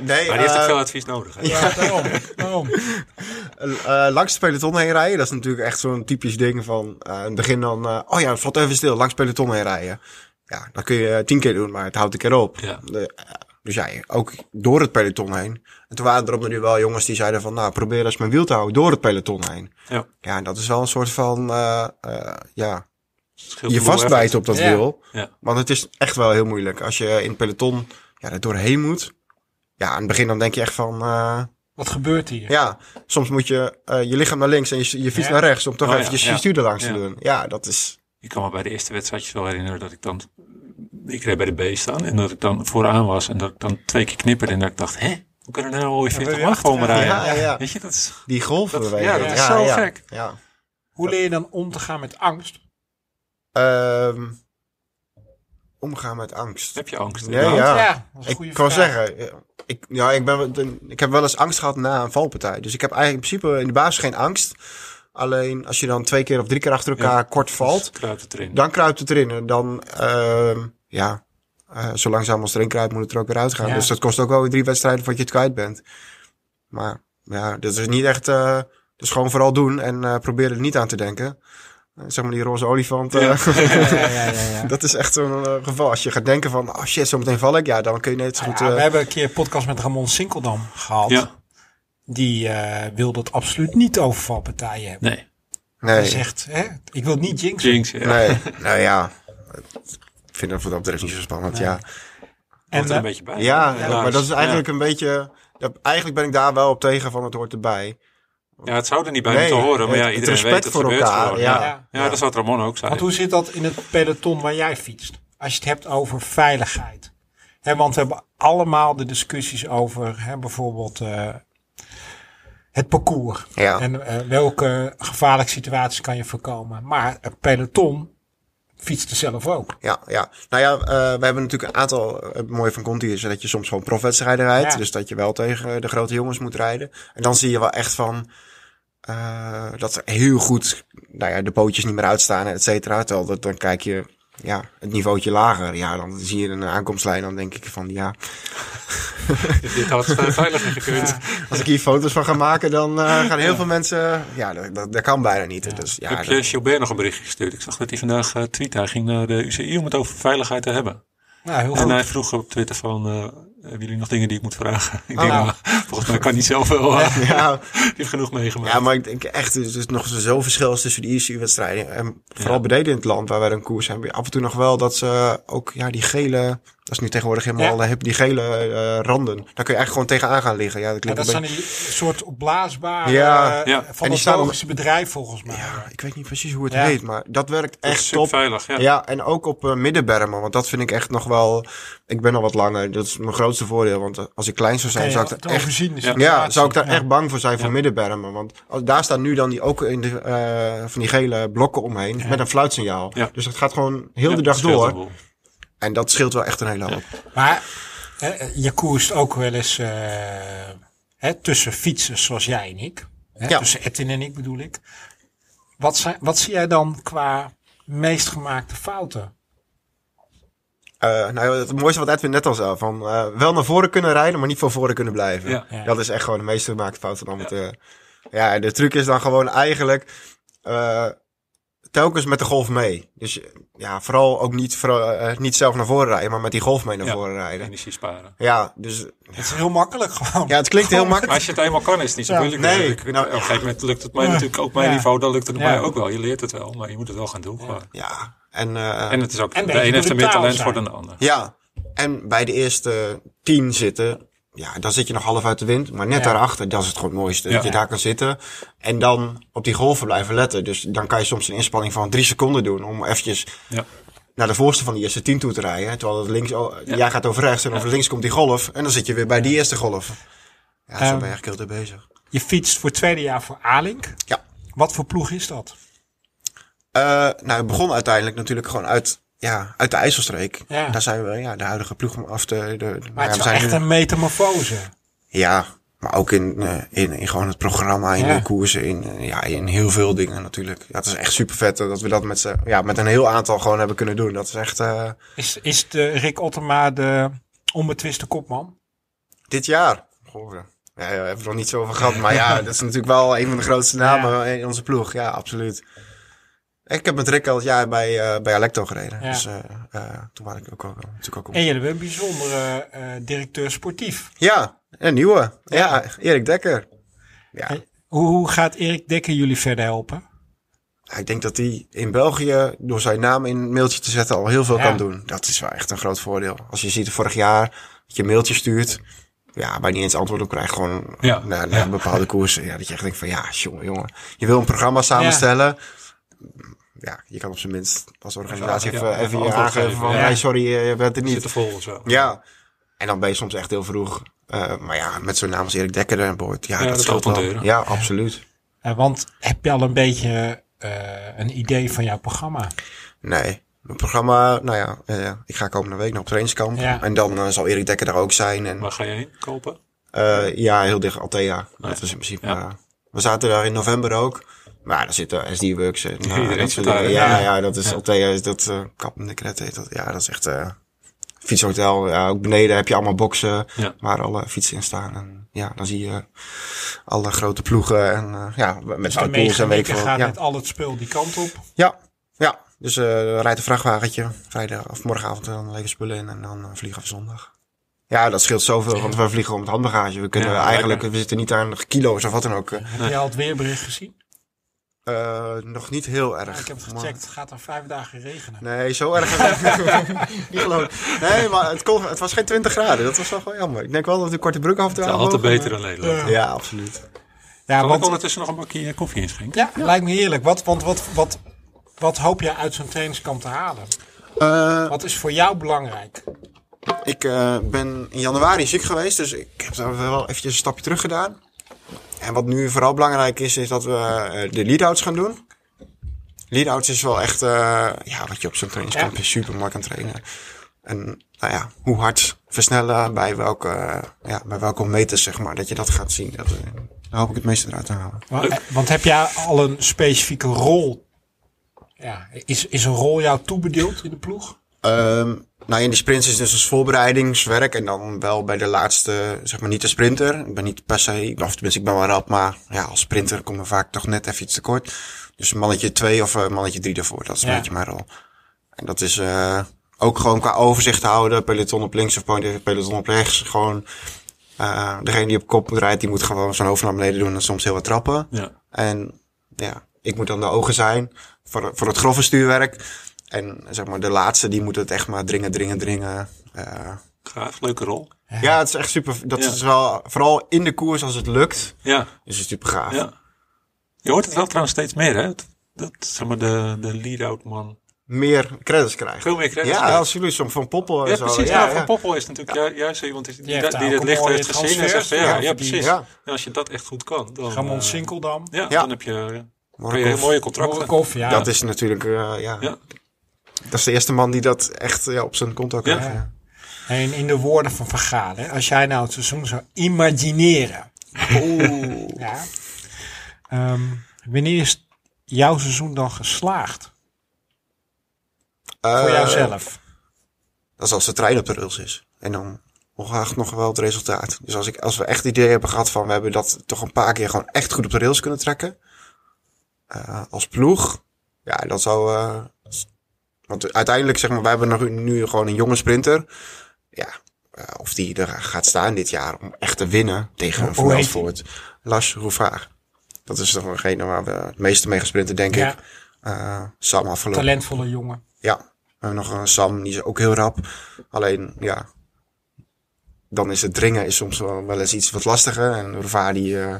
Speaker 3: Maar die heeft
Speaker 1: eh,
Speaker 3: ook veel advies nodig. Hè?
Speaker 2: Ja, daarom. daarom.
Speaker 1: eh, langs het peloton heen rijden, dat is natuurlijk echt zo'n typisch ding van eh, in het begin dan, eh, oh ja, valt even stil, langs het peloton heen rijden. Ja, dat kun je eh, tien keer doen, maar het houdt een keer op.
Speaker 3: Ja.
Speaker 1: De- eh, dus ja, ook door het peloton heen. En toen waren er op nu wel jongens die zeiden van, nou, probeer eens mijn wiel te houden door het peloton heen.
Speaker 3: Ja.
Speaker 1: Ja, en dat is wel een soort van, eh, eh, ja,
Speaker 3: Scheelt
Speaker 1: je
Speaker 3: een boel effort.
Speaker 1: vastbijt op dat
Speaker 2: Ja.
Speaker 1: wiel.
Speaker 3: Ja.
Speaker 1: Want het is echt wel heel moeilijk. Als je in het peloton ja, er doorheen moet. Ja, aan het begin dan denk je echt van... eh,
Speaker 2: Wat gebeurt hier?
Speaker 1: ja, soms moet je eh, je lichaam naar links en je, je fiets
Speaker 2: Ja.
Speaker 1: naar rechts... om toch
Speaker 3: Oh ja,
Speaker 1: eventjes
Speaker 3: ja.
Speaker 1: je stuur er langs
Speaker 3: Ja.
Speaker 1: te doen. Ja, dat is...
Speaker 3: Ik kan me bij de eerste wedstrijdjes wel herinneren dat ik dan... Ik reed bij de B staan en dat ik dan vooraan was en dat ik dan twee keer knipperde en dat ik dacht, hè? Hoe kunnen er nou alweer
Speaker 2: ben je
Speaker 3: 40 man
Speaker 2: achteraan.
Speaker 3: komen
Speaker 1: Ja,
Speaker 3: rijden?
Speaker 1: ja, ja.
Speaker 3: Weet je, dat is...
Speaker 1: Die golven
Speaker 3: ja, dat is zo
Speaker 1: ja.
Speaker 3: gek.
Speaker 1: Ja.
Speaker 2: Hoe leer je dan om te gaan met angst?
Speaker 1: Ehm, omgaan met angst.
Speaker 3: Heb je angst?
Speaker 1: Nee, ja.
Speaker 2: dat is een
Speaker 1: Ik
Speaker 2: goede
Speaker 1: kan wel
Speaker 2: vraag.
Speaker 1: zeggen... eh, Ik, ja, ik, ben, wel- ik heb wel eens angst gehad na een valpartij. Dus ik heb eigenlijk in principe in de basis geen angst. Alleen als je dan twee keer of drie keer achter elkaar kort valt...
Speaker 3: Dus Kruipt het erin.
Speaker 1: dan kruipt het erin. En dan, ehm, ja, eh, zo langzaam als het erin kruipt, moet het er ook weer uitgaan.
Speaker 2: Ja.
Speaker 1: Dus dat kost ook wel weer drie wedstrijden voordat je het kwijt bent. Maar ja, dat is niet echt... eh dus gewoon vooral doen en eh probeer er niet aan te denken. Eh, zeg maar die roze olifant. eh,
Speaker 2: Ja, ja, ja, ja.
Speaker 1: dat is echt zo'n eh, geval. Als je gaat denken van, oh shit, zometeen val ik. Ja, dan kun je net zo goed...
Speaker 2: Nou Ja,
Speaker 1: eh,
Speaker 2: we hebben een keer een podcast met Ramon Sinkeldam gehad.
Speaker 3: Ja.
Speaker 2: Die eh, wil dat absoluut niet over valpartijen hebben.
Speaker 3: Nee.
Speaker 2: Hij
Speaker 1: nee,
Speaker 2: zegt, hè, ik wil het niet jinxen.
Speaker 3: Jinx, ja.
Speaker 1: nee, nou ja. Ik vind dat voor dat betreft niet zo spannend, ja.
Speaker 2: En,
Speaker 3: Hoort er een
Speaker 2: eh,
Speaker 3: beetje bij.
Speaker 1: Ja,
Speaker 3: Helaas.
Speaker 1: maar dat is eigenlijk
Speaker 3: Ja. dus-
Speaker 1: een beetje... dat- eigenlijk ben ik daar wel op tegen van het hoort erbij.
Speaker 3: Ja, het zou er niet bij
Speaker 1: Nee,
Speaker 3: moeten horen, maar
Speaker 1: het-
Speaker 3: ja,
Speaker 1: het
Speaker 3: iedereen
Speaker 1: respect
Speaker 3: weet het
Speaker 1: voor
Speaker 3: gebeurt
Speaker 1: elkaar,
Speaker 3: gewoon.
Speaker 1: ja.
Speaker 3: Ja.
Speaker 1: Ja.
Speaker 3: dat is wat Ramon ook zei.
Speaker 2: want hoe zit dat in het peloton waar jij fietst? Als je het hebt over veiligheid. Hè, want we hebben allemaal de discussies over hè, bijvoorbeeld eh, het parcours.
Speaker 1: Ja.
Speaker 2: En eh, welke gevaarlijke situaties kan je voorkomen. Maar het peloton fietst er zelf ook.
Speaker 1: Ja, ja. Nou ja, eh, we hebben natuurlijk een aantal. eh, Het mooie van Conti is dat je soms gewoon profwedstrijden rijdt.
Speaker 2: Ja.
Speaker 1: Dus dat je wel tegen de grote jongens moet rijden. En dan zie je wel echt van. eh, eh, dat ze heel goed nou ja, de pootjes niet meer uitstaan, et cetera. Terwijl dat, dan kijk je ja, het niveautje lager. Ja, dan zie je een aankomstlijn. Dan denk ik van ja,
Speaker 3: Dit had veiliger gekund.
Speaker 1: als ik hier foto's van ga maken, dan eh, gaan heel veel mensen. Ja, dat, dat, dat kan bijna niet. Dus ja,
Speaker 3: Heb je Gilbert nog een berichtje gestuurd? Ik zag dat hij vandaag eh, tweet. Hij ging naar de UCI om het over veiligheid te hebben.
Speaker 2: Nou,
Speaker 1: Oh.
Speaker 2: heel
Speaker 3: En
Speaker 2: goed.
Speaker 3: hij vroeg op Twitter van, eh, hebben jullie nog dingen die ik moet vragen? Ik denk,
Speaker 1: Ah.
Speaker 3: nou, volgens mij kan hij zelf wel. eh,
Speaker 1: dat- ja,
Speaker 3: die heeft genoeg meegemaakt.
Speaker 1: Ja, maar ik denk echt, er is nog zo'n verschil is tussen de ICU-wedstrijden. En vooral beneden in het land, waar wij dan koers hebben. Af en toe nog wel dat ze ook, ja, die gele, dat is nu tegenwoordig helemaal
Speaker 2: Ja.
Speaker 1: hip, die gele eh, randen. Daar kun je echt gewoon tegenaan gaan liggen. Ja, dat
Speaker 2: Ja,
Speaker 1: klinkt
Speaker 2: dat
Speaker 1: een
Speaker 2: zijn die soort opblaasbare
Speaker 1: Ja.
Speaker 2: eh,
Speaker 3: Ja.
Speaker 1: En
Speaker 2: van
Speaker 1: die
Speaker 2: het
Speaker 1: staan ook-
Speaker 2: logische bedrijf volgens mij.
Speaker 1: beetje- ja, ik weet niet precies hoe het
Speaker 2: Ja.
Speaker 1: heet, maar dat werkt
Speaker 3: Dat is
Speaker 1: echt top.
Speaker 3: superveilig, ja.
Speaker 1: Ja. en ook op eh, middenbermen, want dat vind ik echt nog wel... Ik ben al wat langer, dat is mijn grootste voordeel. Want eh, als ik klein zou zijn,
Speaker 2: Kan je
Speaker 1: zou ik er
Speaker 2: het
Speaker 1: echt
Speaker 2: overzien, de
Speaker 1: Ja,
Speaker 2: situatie.
Speaker 1: zou ik daar
Speaker 2: Ja.
Speaker 1: echt bang voor zijn voor middenbermen? Want als- daar staan nu dan die, ook in de, eh, van die gele blokken omheen met een fluitsignaal.
Speaker 3: Ja.
Speaker 1: Dus dat gaat gewoon heel de
Speaker 3: Ja,
Speaker 1: dag
Speaker 3: scheelt een
Speaker 1: door.
Speaker 3: boel.
Speaker 1: En dat scheelt wel echt een hele hoop.
Speaker 2: Maar eh, eh, je koerst ook wel eens eh, hè, tussen fietsers zoals jij en ik. Hè,
Speaker 1: Ja.
Speaker 2: Tussen Ettin en ik bedoel ik. Wat, zijn, wat zie jij dan qua meest gemaakte fouten?
Speaker 1: Eh, nou, ja, het mooiste wat Edwin net al zei, van eh, wel naar voren kunnen rijden, maar niet van voren kunnen blijven.
Speaker 3: Ja.
Speaker 2: Ja.
Speaker 1: Dat is echt gewoon de meeste gemaakte fouten dan. Met, eh, ja, en de truc is dan gewoon eigenlijk eh, telkens met de golf mee. Dus ja, vooral ook niet, vooral, eh, niet zelf naar voren rijden, maar met die golf mee naar
Speaker 3: Ja.
Speaker 1: voren rijden.
Speaker 3: Energie sparen.
Speaker 1: Ja, dus
Speaker 2: Het is heel makkelijk gewoon.
Speaker 1: ja, het klinkt heel makkelijk.
Speaker 3: Maar als je het eenmaal kan, is het niet zo
Speaker 2: Ja.
Speaker 3: moeilijk.
Speaker 1: Nee.
Speaker 3: natuurlijk.
Speaker 1: Nou,
Speaker 3: op een gegeven moment lukt het mij
Speaker 2: Ja.
Speaker 3: natuurlijk ook mijn
Speaker 2: Ja.
Speaker 3: niveau. Dan lukt het mij
Speaker 2: Ja.
Speaker 3: ook wel. Je leert het wel, maar je moet het wel gaan doen. gewoon.
Speaker 1: Ja, en, eh,
Speaker 3: En het is ook,
Speaker 2: En
Speaker 3: de
Speaker 2: beetje
Speaker 3: een heeft er meer
Speaker 2: brutaal
Speaker 3: talent
Speaker 2: zijn.
Speaker 3: voor dan de ander.
Speaker 1: ja, en bij de eerste tien zitten, ja, dan zit je nog half uit de wind. Maar net
Speaker 2: Ja.
Speaker 1: daarachter, dat is het gewoon het mooiste. Dat
Speaker 3: Ja.
Speaker 1: je daar kan zitten en dan op die golven blijven letten. Dus dan kan je soms een inspanning van drie seconden doen om eventjes
Speaker 3: Ja.
Speaker 1: naar de voorste van die eerste tien toe te rijden. Terwijl het links, oh, jij gaat over rechts en over links komt die golf. En dan zit je weer bij die eerste golf. Ja, zo
Speaker 2: Ehm.
Speaker 1: ben je echt heel druk bezig.
Speaker 2: Je fietst voor het tweede jaar voor Alink.
Speaker 1: Ja.
Speaker 2: Wat voor ploeg is dat?
Speaker 1: Eh, nou, het begon uiteindelijk natuurlijk gewoon uit, ja, uit de IJsselstreek.
Speaker 2: Ja.
Speaker 1: Daar zijn we, ja, de huidige ploeg af de, de, Nou ja,
Speaker 2: Maar het
Speaker 1: we zijn
Speaker 2: is wel echt
Speaker 1: nu-
Speaker 2: een metamorfose.
Speaker 1: Ja, maar ook in, eh, in, in gewoon het programma, in
Speaker 2: Ja.
Speaker 1: de koersen, in, eh, ja, in heel veel dingen natuurlijk. Ja, het is echt super vet dat we dat met, z'n- ja, met een heel aantal gewoon hebben kunnen doen. Dat is echt eh,
Speaker 2: Is, is de Rick Ottema de onbetwiste kopman?
Speaker 1: dit jaar. Goh, ja. Ja, ja, we hebben het nog niet zo over gehad, maar ja, dat is natuurlijk wel een van de grootste namen in onze ploeg. Ja, absoluut. Ik heb met Rick al het jaar bij, eh, bij Alecto gereden.
Speaker 2: Ja.
Speaker 1: Dus eh, eh, toen was ik ook, al- natuurlijk ook op.
Speaker 2: En jullie hebben een bijzondere eh, directeur sportief.
Speaker 1: Ja, een nieuwe. Ja, Erik Dekker. Ja.
Speaker 2: Hoe, hoe gaat Erik Dekker jullie verder helpen?
Speaker 1: Ja, Ik denk dat hij in België door zijn naam in een mailtje te zetten al heel veel
Speaker 2: Ja.
Speaker 1: kan doen. Dat is wel echt een groot voordeel. Als je ziet vorig jaar dat je een mailtje stuurt. Ja, waar je niet eens antwoord op krijgt. Gewoon
Speaker 3: Ja,
Speaker 1: naar, naar bepaalde koersen. Ja, dat je echt denkt van ja, jongen, jongen. Je wil een programma samenstellen. Ja, je kan op zijn minst als organisatie
Speaker 3: Even-
Speaker 1: even, even, je
Speaker 3: ja, even antwoord
Speaker 1: aangeven
Speaker 3: geven,
Speaker 1: van...
Speaker 2: ja.
Speaker 1: hey, sorry, eh, je bent er
Speaker 3: Zit
Speaker 1: niet.
Speaker 3: er vol of zo.
Speaker 1: Ja, en dan ben je soms echt heel vroeg. Eh, maar ja, met zo'n naam als Erik Dekker aan boord. Ja,
Speaker 3: Ja,
Speaker 1: dat,
Speaker 3: dat
Speaker 1: scheelt
Speaker 3: opent
Speaker 1: wel.
Speaker 3: deuren.
Speaker 1: Ja, absoluut.
Speaker 2: Eh, want heb je al een beetje eh, een idee van jouw programma?
Speaker 1: Nee. Mijn programma, nou ja, eh, ik ga komende week nog op trainingskamp.
Speaker 2: Ja.
Speaker 1: En dan eh, zal Erik Dekker daar ook zijn. En,
Speaker 3: Waar ga je heen kopen?
Speaker 1: eh, ja, heel dicht Althea. Nou, Dat
Speaker 3: ja.
Speaker 1: is in principe...
Speaker 3: Ja.
Speaker 1: eh, we zaten daar in november ook. Maar daar zitten SD-Works en... eh,
Speaker 3: Iedereen
Speaker 1: dat
Speaker 3: zit
Speaker 1: soort
Speaker 3: daar,
Speaker 1: dingen.
Speaker 3: hè?
Speaker 1: ja,
Speaker 3: Ja.
Speaker 1: ja, dat is Althea. is Dat eh kap in de Kret heet dat. Ja, dat is echt... eh fietshotel. Ja, ook beneden heb je allemaal boksen
Speaker 3: Ja.
Speaker 1: waar alle fietsen in staan. En ja, dan zie je alle grote ploegen. En eh, ja,
Speaker 3: Dus
Speaker 1: met
Speaker 2: De
Speaker 1: Van Pools en weet ik
Speaker 2: meegemeente
Speaker 1: veel.
Speaker 2: gaat
Speaker 1: Ja.
Speaker 2: met al het spul die kant op.
Speaker 1: Ja, ja. Dus eh rijdt een vrachtwagentje vrijdag of morgenavond en dan leveren spullen in en dan eh, vliegen we zondag. Ja, dat scheelt zoveel, want we vliegen om het handbagage. We kunnen
Speaker 3: Ja,
Speaker 1: eigenlijk,
Speaker 3: lekker.
Speaker 1: we zitten niet aan kilo's of wat dan ook. Eh,
Speaker 2: Heb je al het weerbericht gezien?
Speaker 1: eh, nog niet heel erg.
Speaker 2: Ik heb het
Speaker 1: maar-
Speaker 2: gecheckt. Het gaat er vijf dagen regenen.
Speaker 1: Nee, zo erg. niet geloof ik. Nee, maar het, kon, het was geen 20 graden. Dat was wel gewoon jammer. Ik denk wel dat we korte broek af en toe
Speaker 3: Het is
Speaker 1: aan
Speaker 3: altijd
Speaker 1: mogen,
Speaker 3: beter dan Nederland.
Speaker 1: maar- Ja, absoluut.
Speaker 2: Ja,
Speaker 3: Kan ik
Speaker 2: want,
Speaker 3: ondertussen nog een bakje koffie inschenken?
Speaker 2: ja, lijkt me heerlijk. Wat, want wat, wat, wat hoop je uit zo'n trainingskamp te halen?
Speaker 1: Eh,
Speaker 2: Wat is voor jou belangrijk?
Speaker 1: Ik eh, ben in januari ziek geweest, dus ik heb daar wel eventjes een stapje terug gedaan. En wat nu vooral belangrijk is, is dat we eh, de lead-outs gaan doen. Lead-outs is wel echt, eh, ja, wat je op zo'n trainingskamp
Speaker 2: Ja.
Speaker 1: is super mooi kan trainen. En nou ja, hoe hard versnellen, bij welke, eh, ja, bij welke meters zeg maar, dat je dat gaat zien. Dat, eh, Daar hoop ik het meeste eruit te halen.
Speaker 2: Wa- eh, Want heb jij al een specifieke rol? Ja, is, is een rol jou toebedeeld in de ploeg?
Speaker 1: Ehm, nou, in de sprint is het dus als voorbereidingswerk en dan wel bij de laatste, zeg maar niet de sprinter. Ik ben niet per se, of tenminste ik ben wel rap, maar ja, als sprinter kom ik vaak toch net even iets tekort. Dus mannetje 2 of eh, mannetje 3 daarvoor, dat is een
Speaker 2: Ja.
Speaker 1: beetje mijn rol. En dat is eh, ook gewoon qua overzicht houden, peloton op links of peloton op rechts. Gewoon eh, degene die op kop rijdt, die moet gewoon zijn hoofd naar beneden doen en soms heel wat trappen.
Speaker 3: Ja.
Speaker 1: En ja, ik moet dan de ogen zijn voor, voor het grove stuurwerk. En zeg maar, de laatste die moet het echt maar dringen, dringen, dringen. Eh,
Speaker 3: Graaf, leuke rol.
Speaker 1: ja. het is echt super. Dat
Speaker 3: Ja.
Speaker 1: is wel vooral in de koers als het lukt.
Speaker 3: Ja,
Speaker 1: Is het super gaaf.
Speaker 3: ja. Je hoort het wel trouwens steeds meer, hè? Dat, dat, zeg maar, de, de lead-out man.
Speaker 1: Meer credits krijgen.
Speaker 3: Veel meer credits
Speaker 1: ja,
Speaker 3: krijgt.
Speaker 1: als jullie soms van Poppel en
Speaker 3: Ja,
Speaker 1: zo.
Speaker 3: precies.
Speaker 1: Ja,
Speaker 3: Ja,
Speaker 1: ja.
Speaker 3: Van Poppel is natuurlijk ju- juist iemand die, die,
Speaker 2: heeft
Speaker 3: dat-
Speaker 2: daar
Speaker 3: die
Speaker 2: ook
Speaker 3: dat
Speaker 2: een
Speaker 3: licht
Speaker 2: mooie
Speaker 3: heeft gezien en
Speaker 2: transfer.
Speaker 3: zegt, van, ja,
Speaker 2: Ja, die-
Speaker 3: ja, precies.
Speaker 1: Ja.
Speaker 3: En als je dat echt goed kan, dan,
Speaker 2: Ramon
Speaker 3: eh,
Speaker 2: Sinkeldam?
Speaker 3: ja,
Speaker 1: Ja.
Speaker 3: dan heb je, kan je
Speaker 1: Morkov.
Speaker 3: mooie contracten.
Speaker 2: Morkov, ja.
Speaker 1: Dat is natuurlijk, eh, ja.
Speaker 3: Ja.
Speaker 1: Dat is de eerste man die dat echt ja, op zijn konto krijgt. Ja.
Speaker 2: En in de woorden van Van Gaal, hè, als jij nou het seizoen zou imagineren. Oeh. ja. Ehm, wanneer is jouw seizoen dan geslaagd? Voor
Speaker 1: Eh,
Speaker 2: jouzelf?
Speaker 1: Dat is als de trein op de rails is. En dan ongeacht nog wel het resultaat. Dus als, ik, als we echt het idee hebben gehad van... we hebben dat toch een paar keer gewoon echt goed op de rails kunnen trekken. eh, als ploeg. Ja, dat zou... eh, want uiteindelijk, zeg maar, wij hebben nog nu gewoon een jonge sprinter. Ja, eh, of die er gaat staan dit jaar om echt te winnen tegen een
Speaker 2: Hoe heet die?
Speaker 1: Veldvoort. Lars Rouvaar. Dat is toch degene waar we het meeste mee gesprinten, denk
Speaker 2: Ja.
Speaker 1: ik. Eh Sam afgelopen
Speaker 2: Talentvolle jongen.
Speaker 1: ja, we hebben nog een Sam, die is ook heel rap. Alleen, ja, dan is het dringen is soms wel, wel eens iets wat lastiger. En Rova, die eh,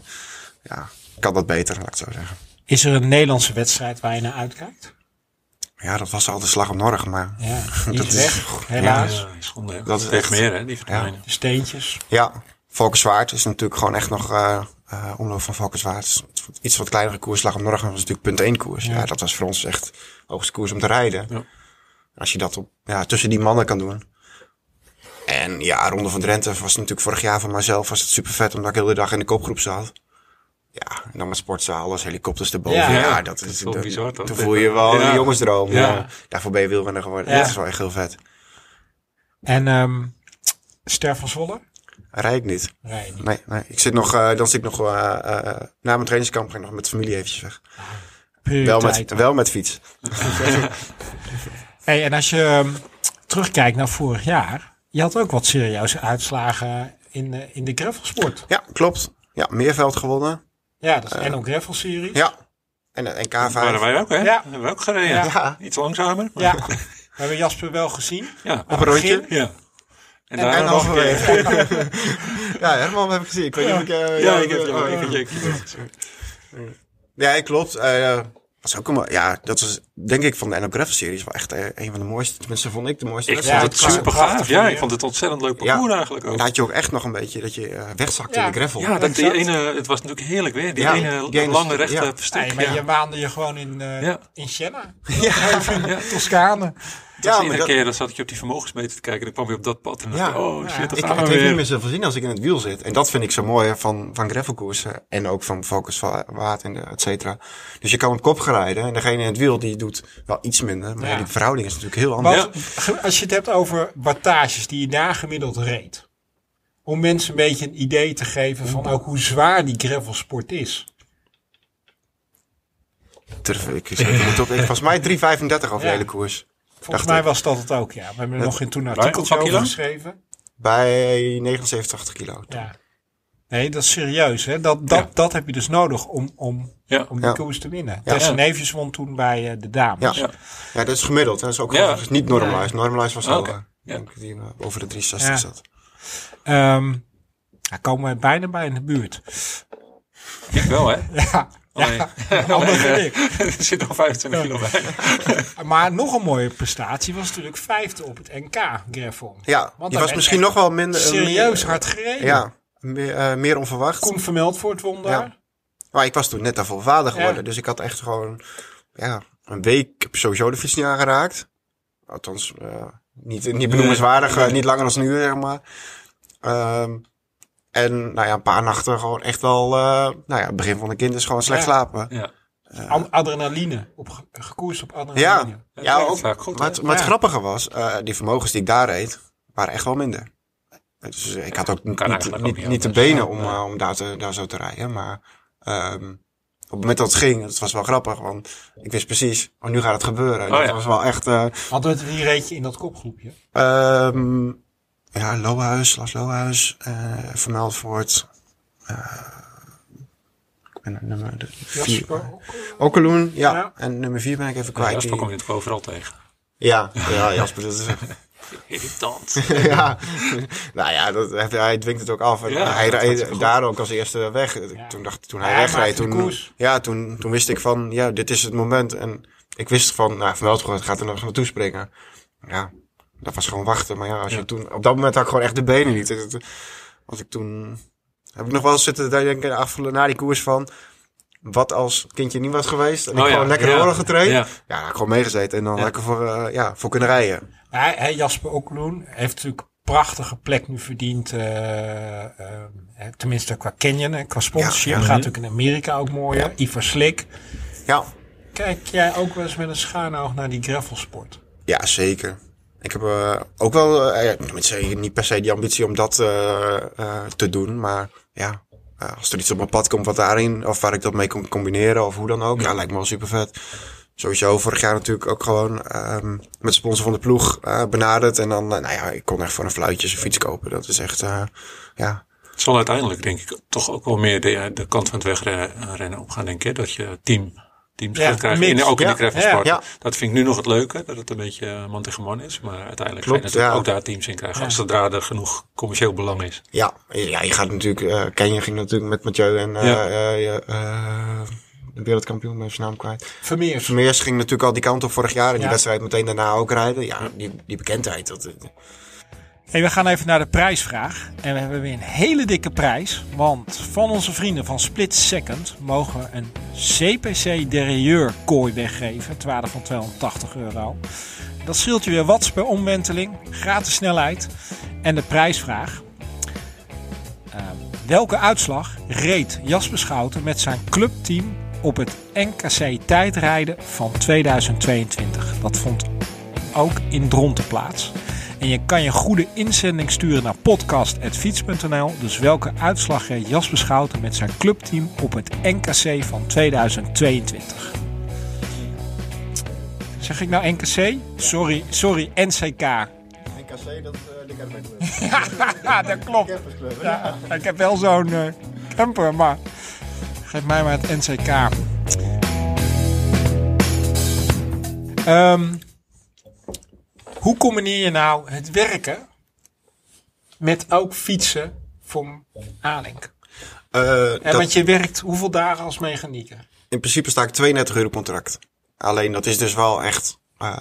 Speaker 1: ja, kan dat beter, laat ik het zo zeggen.
Speaker 2: Is er een Nederlandse wedstrijd waar je naar uitkijkt?
Speaker 1: Ja, dat was al de slag om Norg, maar
Speaker 2: Ja,
Speaker 1: Dat
Speaker 2: niet
Speaker 1: is-
Speaker 2: weg,
Speaker 3: Ja,
Speaker 2: helaas.
Speaker 3: ja, zonde. hè.
Speaker 1: Dat is
Speaker 3: Steeds
Speaker 1: echt-
Speaker 3: meer, hè? Die verdwijnen.
Speaker 2: De steentjes.
Speaker 1: ja, Valkenswaard is natuurlijk gewoon echt nog eh, eh, omloop van Valkenswaard. is Iets wat kleinere koers, slag om Norg was natuurlijk punt 1 koers. Ja. dat was voor ons echt hoogste koers om te rijden.
Speaker 3: Ja.
Speaker 1: Als je dat op, ja, tussen die mannen kan doen. En ja, Ronde van Drenthe was natuurlijk vorig jaar voor mijzelf was het super vet, omdat ik heel de dag in de kopgroep zat. Ja, en dan met sportzaal als helikopters erboven.
Speaker 2: Ja,
Speaker 1: Ja,
Speaker 3: ja,
Speaker 1: dat is
Speaker 3: wel bizar, toch?
Speaker 1: Toen voel je wel
Speaker 3: Ja.
Speaker 1: een jongensdroom.
Speaker 3: Ja.
Speaker 1: Ja. Daarvoor ben je wielrenner geworden.
Speaker 2: Ja.
Speaker 1: Dat is wel echt heel vet.
Speaker 2: En ehm Ster van Zwolle?
Speaker 1: Rij ik niet.
Speaker 2: Nee, niet.
Speaker 1: Nee, nee. Ik zit nog, eh, dan zit ik nog eh eh, na mijn trainingskamp ga ik nog met familie eventjes weg. Wel met,
Speaker 2: Prioriteit.
Speaker 1: wel met fiets.
Speaker 2: Hey, en als je ehm, terugkijkt naar vorig jaar, je had ook wat serieuze uitslagen in, de in de gravelsport.
Speaker 1: Ja, klopt. Ja, Meerveld gewonnen.
Speaker 2: Ja,
Speaker 1: Eh.
Speaker 2: dat is NL Gravel Series.
Speaker 1: Ja. En, eh, en K5.
Speaker 3: Dat waren wij ook, hè?
Speaker 2: Ja.
Speaker 3: Hebben we ook gereden.
Speaker 1: Ja.
Speaker 3: Iets langzamer. maar-
Speaker 2: Ja, we hebben Jasper wel gezien.
Speaker 3: ja.
Speaker 1: Op een rondje.
Speaker 3: Ja.
Speaker 1: En,
Speaker 3: En, daarna nog een keer.
Speaker 2: nou,
Speaker 1: halverwege. ja, Herman heb ik gezien. Ik weet niet of ik... eh,
Speaker 3: Ja, ik heb
Speaker 1: eh,
Speaker 3: je.
Speaker 1: eh,
Speaker 3: Ik heb je. ik heb je-
Speaker 1: Ja, klopt. Eh was ook een, mo- ja, dat is denk ik van de NOGRAF series wel echt eh, een van de mooiste. Tenminste, vond ik de mooiste.
Speaker 3: Ik
Speaker 1: wedstrijd.
Speaker 3: vond het
Speaker 2: het was
Speaker 3: super
Speaker 2: een prachtig
Speaker 3: gaaf. Ja,
Speaker 2: weer.
Speaker 3: ik vond het ontzettend leuk parcours
Speaker 1: Ja.
Speaker 3: eigenlijk
Speaker 1: En
Speaker 3: ook.
Speaker 1: dan had je ook echt nog een beetje dat je eh, wegzakt
Speaker 2: Ja.
Speaker 1: in de gravel.
Speaker 3: Ja, dat die
Speaker 2: Exact.
Speaker 3: ene, het was natuurlijk heerlijk weer. Die,
Speaker 1: Ja,
Speaker 3: ene,
Speaker 1: die ene-
Speaker 3: lange rechte
Speaker 1: ja.
Speaker 3: stuk.
Speaker 2: Nee, maar
Speaker 3: ja.
Speaker 2: je waande je gewoon in, eh
Speaker 3: Ja.
Speaker 2: in Siena. Ja. Toscane.
Speaker 1: Ja,
Speaker 3: Dus
Speaker 1: maar
Speaker 3: iedere
Speaker 1: dat-
Speaker 3: keer dan zat ik op die vermogensmeter te kijken en dan kwam weer op dat pad. En dan
Speaker 1: Ja.
Speaker 3: dacht ik, oh shit, dat
Speaker 1: Ik,
Speaker 3: gaan
Speaker 1: het
Speaker 3: we
Speaker 1: heeft niet
Speaker 3: weer.
Speaker 1: meer zoveel zin als ik in het wiel zit. En dat vind ik zo mooi hè, van, van gravelkoersen. En ook van focus waard en de- et cetera. Dus je kan op kop gaan rijden. En degene in het wiel die doet wel iets minder. Maar
Speaker 2: Ja.
Speaker 1: die verhouding is natuurlijk heel anders.
Speaker 2: Want ge- als je het hebt over wattages die je daar gemiddeld reed. Om mensen een beetje een idee te geven van ook hoe zwaar die gravelsport is.
Speaker 1: Durf ik, ik, moet op, ik volgens mij 3,35 over de
Speaker 2: Ja.
Speaker 1: hele koers.
Speaker 2: Volgens
Speaker 1: Dacht
Speaker 2: mij
Speaker 1: ik.
Speaker 2: was dat het ook, ja. We hebben er nog in toen een
Speaker 3: Waar?
Speaker 2: artikeltje
Speaker 3: Op
Speaker 2: over
Speaker 3: Aquila?
Speaker 2: geschreven.
Speaker 1: Bij 79, 80 kilo.
Speaker 2: Ja. Nee, dat is serieus. Hè? Dat, dat,
Speaker 3: Ja.
Speaker 2: dat heb je dus nodig om, om,
Speaker 3: Ja.
Speaker 2: om die
Speaker 1: Ja.
Speaker 2: koers te winnen.
Speaker 1: Ja.
Speaker 2: Tessa Neefjes won toen bij eh, de dames.
Speaker 1: Ja. Ja, dat is gemiddeld. hè. Dat is ook
Speaker 3: Ja.
Speaker 1: dat is niet normalized. Normalized was al
Speaker 3: Oké.
Speaker 1: eh,
Speaker 3: Ja.
Speaker 1: denk ik, die eh, over de 360
Speaker 2: Ja.
Speaker 1: zat.
Speaker 2: Ehm, daar komen we bijna bij in de buurt.
Speaker 3: Ik wel, hè? Oh,
Speaker 2: Ja,
Speaker 3: Alleen,
Speaker 2: anders dan
Speaker 3: alleen,
Speaker 2: ik.
Speaker 3: eh, er zit nog 25 kilo bij.
Speaker 2: Maar nog een mooie prestatie was natuurlijk vijfde op het NK, Greffel.
Speaker 1: Ja,
Speaker 2: Want
Speaker 1: die
Speaker 2: daar
Speaker 1: was
Speaker 2: werd
Speaker 1: misschien
Speaker 2: echt
Speaker 1: nog wel minder... eh,
Speaker 2: Serieus
Speaker 1: meer-
Speaker 2: hard gereden.
Speaker 1: Ja, meer, eh, meer onverwacht.
Speaker 2: Koen vermeld voor het wonder.
Speaker 1: Ja. Maar ik was toen net daarvoor vader geworden.
Speaker 2: Ja.
Speaker 1: Dus ik had echt gewoon ja, een week ik heb sowieso de fiets niet aangeraakt. Althans, eh, niet, niet benoemenswaardig. eh, niet langer dan een uur, zeg maar. Ehm, En nou ja, een paar nachten gewoon echt wel, eh, nou ja, begin van de kinderen gewoon slecht
Speaker 2: Ja.
Speaker 1: slapen.
Speaker 3: Ja.
Speaker 2: Ad- Eh, adrenaline. Op, ge- gekoerst op
Speaker 1: Ja,
Speaker 2: adrenaline.
Speaker 1: ja,
Speaker 3: werkt
Speaker 1: ook.
Speaker 3: vaak goed,
Speaker 1: maar
Speaker 3: hè?
Speaker 1: het, maar het
Speaker 2: Ja.
Speaker 1: grappige was, eh, die vermogens die ik daar reed, waren echt wel minder. Dus eh, ik had ook niet,
Speaker 3: eigenlijk ook
Speaker 1: niet,
Speaker 3: niet
Speaker 1: niet de
Speaker 3: anders.
Speaker 1: benen om,
Speaker 3: Nee.
Speaker 1: eh, om daar, te, daar zo te rijden. Maar ehm, op het moment dat het ging, het was wel grappig. Want ik wist precies, oh, nu gaat het gebeuren. En
Speaker 3: Oh,
Speaker 1: dat
Speaker 3: ja.
Speaker 1: was wel echt... eh,
Speaker 2: Hadden we het die reetje in dat kopgroepje?
Speaker 1: ehm, ja, Lohuis, Las Lohuis, eh Vermeldvoort. eh, ik ben het nummer de- vier.
Speaker 2: Jasper? ook?
Speaker 1: Okkeloen, ja.
Speaker 2: Ja.
Speaker 1: En nummer vier ben ik even
Speaker 3: Ja,
Speaker 1: kwijt.
Speaker 3: Jasper
Speaker 1: die-
Speaker 3: kom je natuurlijk overal tegen.
Speaker 1: Ja, ja, Jasper, dat is
Speaker 3: Irritant.
Speaker 1: ja, nou ja, dat, hij- hij dwingt het ook af. En
Speaker 3: Ja,
Speaker 1: hij
Speaker 3: dat gaat
Speaker 1: reed
Speaker 3: zo goed.
Speaker 1: daar ook als eerste weg. Toen, dacht, toen hij
Speaker 2: Ja, hij
Speaker 1: wegreed,
Speaker 2: maakte de
Speaker 1: toen,
Speaker 2: koers.
Speaker 1: ja, toen, toen wist ik van, ja, dit is het moment. En ik wist van, nou, Van Veldvoort gaat er nog naartoe springen. Ja, dat was gewoon wachten. Maar ja, als
Speaker 3: Ja.
Speaker 1: je toen, op dat moment had ik gewoon echt de benen niet. Het- het- Want ik toen, heb ik nog wel eens zitten daar denken, afvullen na die koers van... Wat als het kindje niet was geweest en ik
Speaker 3: Oh ja,
Speaker 1: gewoon lekker
Speaker 3: ja,
Speaker 1: door had getraind.
Speaker 3: ja.
Speaker 1: Ja, daar had ik gewoon meegezeten en dan
Speaker 3: Ja.
Speaker 1: lekker voor, eh, ja, voor kunnen rijden.
Speaker 2: Hij, hij, Jasper Okloen heeft natuurlijk een prachtige plek nu verdiend. eh, eh, eh, tenminste qua canyon en qua sponsorship.
Speaker 1: Ja, ja.
Speaker 2: Gaat natuurlijk in Amerika ook mooier. Ivar Slik.
Speaker 1: Ja,
Speaker 2: Kijk jij ook wel eens met een schuin oog naar die gravelsport?
Speaker 1: Ja, zeker. Ik heb eh, ook wel, eh, ja, tenminste, niet per se die ambitie om dat eh, eh, te doen. Maar ja, eh, als er iets op mijn pad komt wat daarin, of waar ik dat mee kan combineren of hoe dan ook, ja, lijkt me wel super vet. Sowieso vorig jaar natuurlijk ook gewoon ehm, met sponsor van de ploeg eh, benaderd. En dan, eh, nou ja, ik kon echt voor een fluitje een fiets kopen. Dat is echt, eh, ja.
Speaker 3: Het zal uiteindelijk denk ik toch ook wel meer de, de kant van het wegrennen rennen op gaan denken. Hè? Dat je team, teams
Speaker 2: Ja,
Speaker 3: gaat krijgen.
Speaker 2: mix.
Speaker 3: In, ook in
Speaker 1: Ja,
Speaker 3: de gravelsport.
Speaker 1: ja, ja.
Speaker 3: Dat vind ik nu nog het leuke. Dat het een beetje eh, man tegen man is. Maar uiteindelijk ga je
Speaker 1: Klopt,
Speaker 3: natuurlijk
Speaker 1: ja.
Speaker 3: ook daar teams in krijgen. Als zodra er genoeg commercieel belang is.
Speaker 1: Ja, ja je gaat natuurlijk, eh Kenya ging natuurlijk met Mathieu en eh
Speaker 3: Ja.
Speaker 1: eh, je, eh, de wereldkampioen, ik ben zijn naam kwijt.
Speaker 2: Vermeers.
Speaker 1: Vermeers ging natuurlijk al die kant op vorig jaar. En
Speaker 2: Ja.
Speaker 1: die wedstrijd meteen daarna ook rijden. Ja, die, die bekendheid. Dat, eh,
Speaker 2: Hey, we gaan even naar de prijsvraag. En we hebben weer een hele dikke prijs. Want van onze vrienden van Split Second mogen we een CPC Derrieur kooi weggeven. Het waarde van 280 euro. Dat scheelt je weer watts per omwenteling. Gratis snelheid. En de prijsvraag. Eh, welke uitslag reed Jasper Schouten met zijn clubteam op het NKC tijdrijden van 2022? Dat vond ook in Dronten plaats. En je kan je goede inzending sturen naar podcast.fiets.nl. Dus welke uitslag reed Jasper Schouten met zijn clubteam op het NKC van 2022? Zeg ik nou NKC? Sorry, sorry, NCK.
Speaker 1: NKC, dat uh,
Speaker 2: Ja, dat klopt. Ja, ik heb wel zo'n eh, camper, maar geef mij maar het NCK. Ehm, hoe combineer je nou het werken met ook fietsen voor Alink? En want je werkt hoeveel dagen als mechanieker?
Speaker 1: In principe sta ik 32 uur op contract. Alleen dat is dus wel echt eh,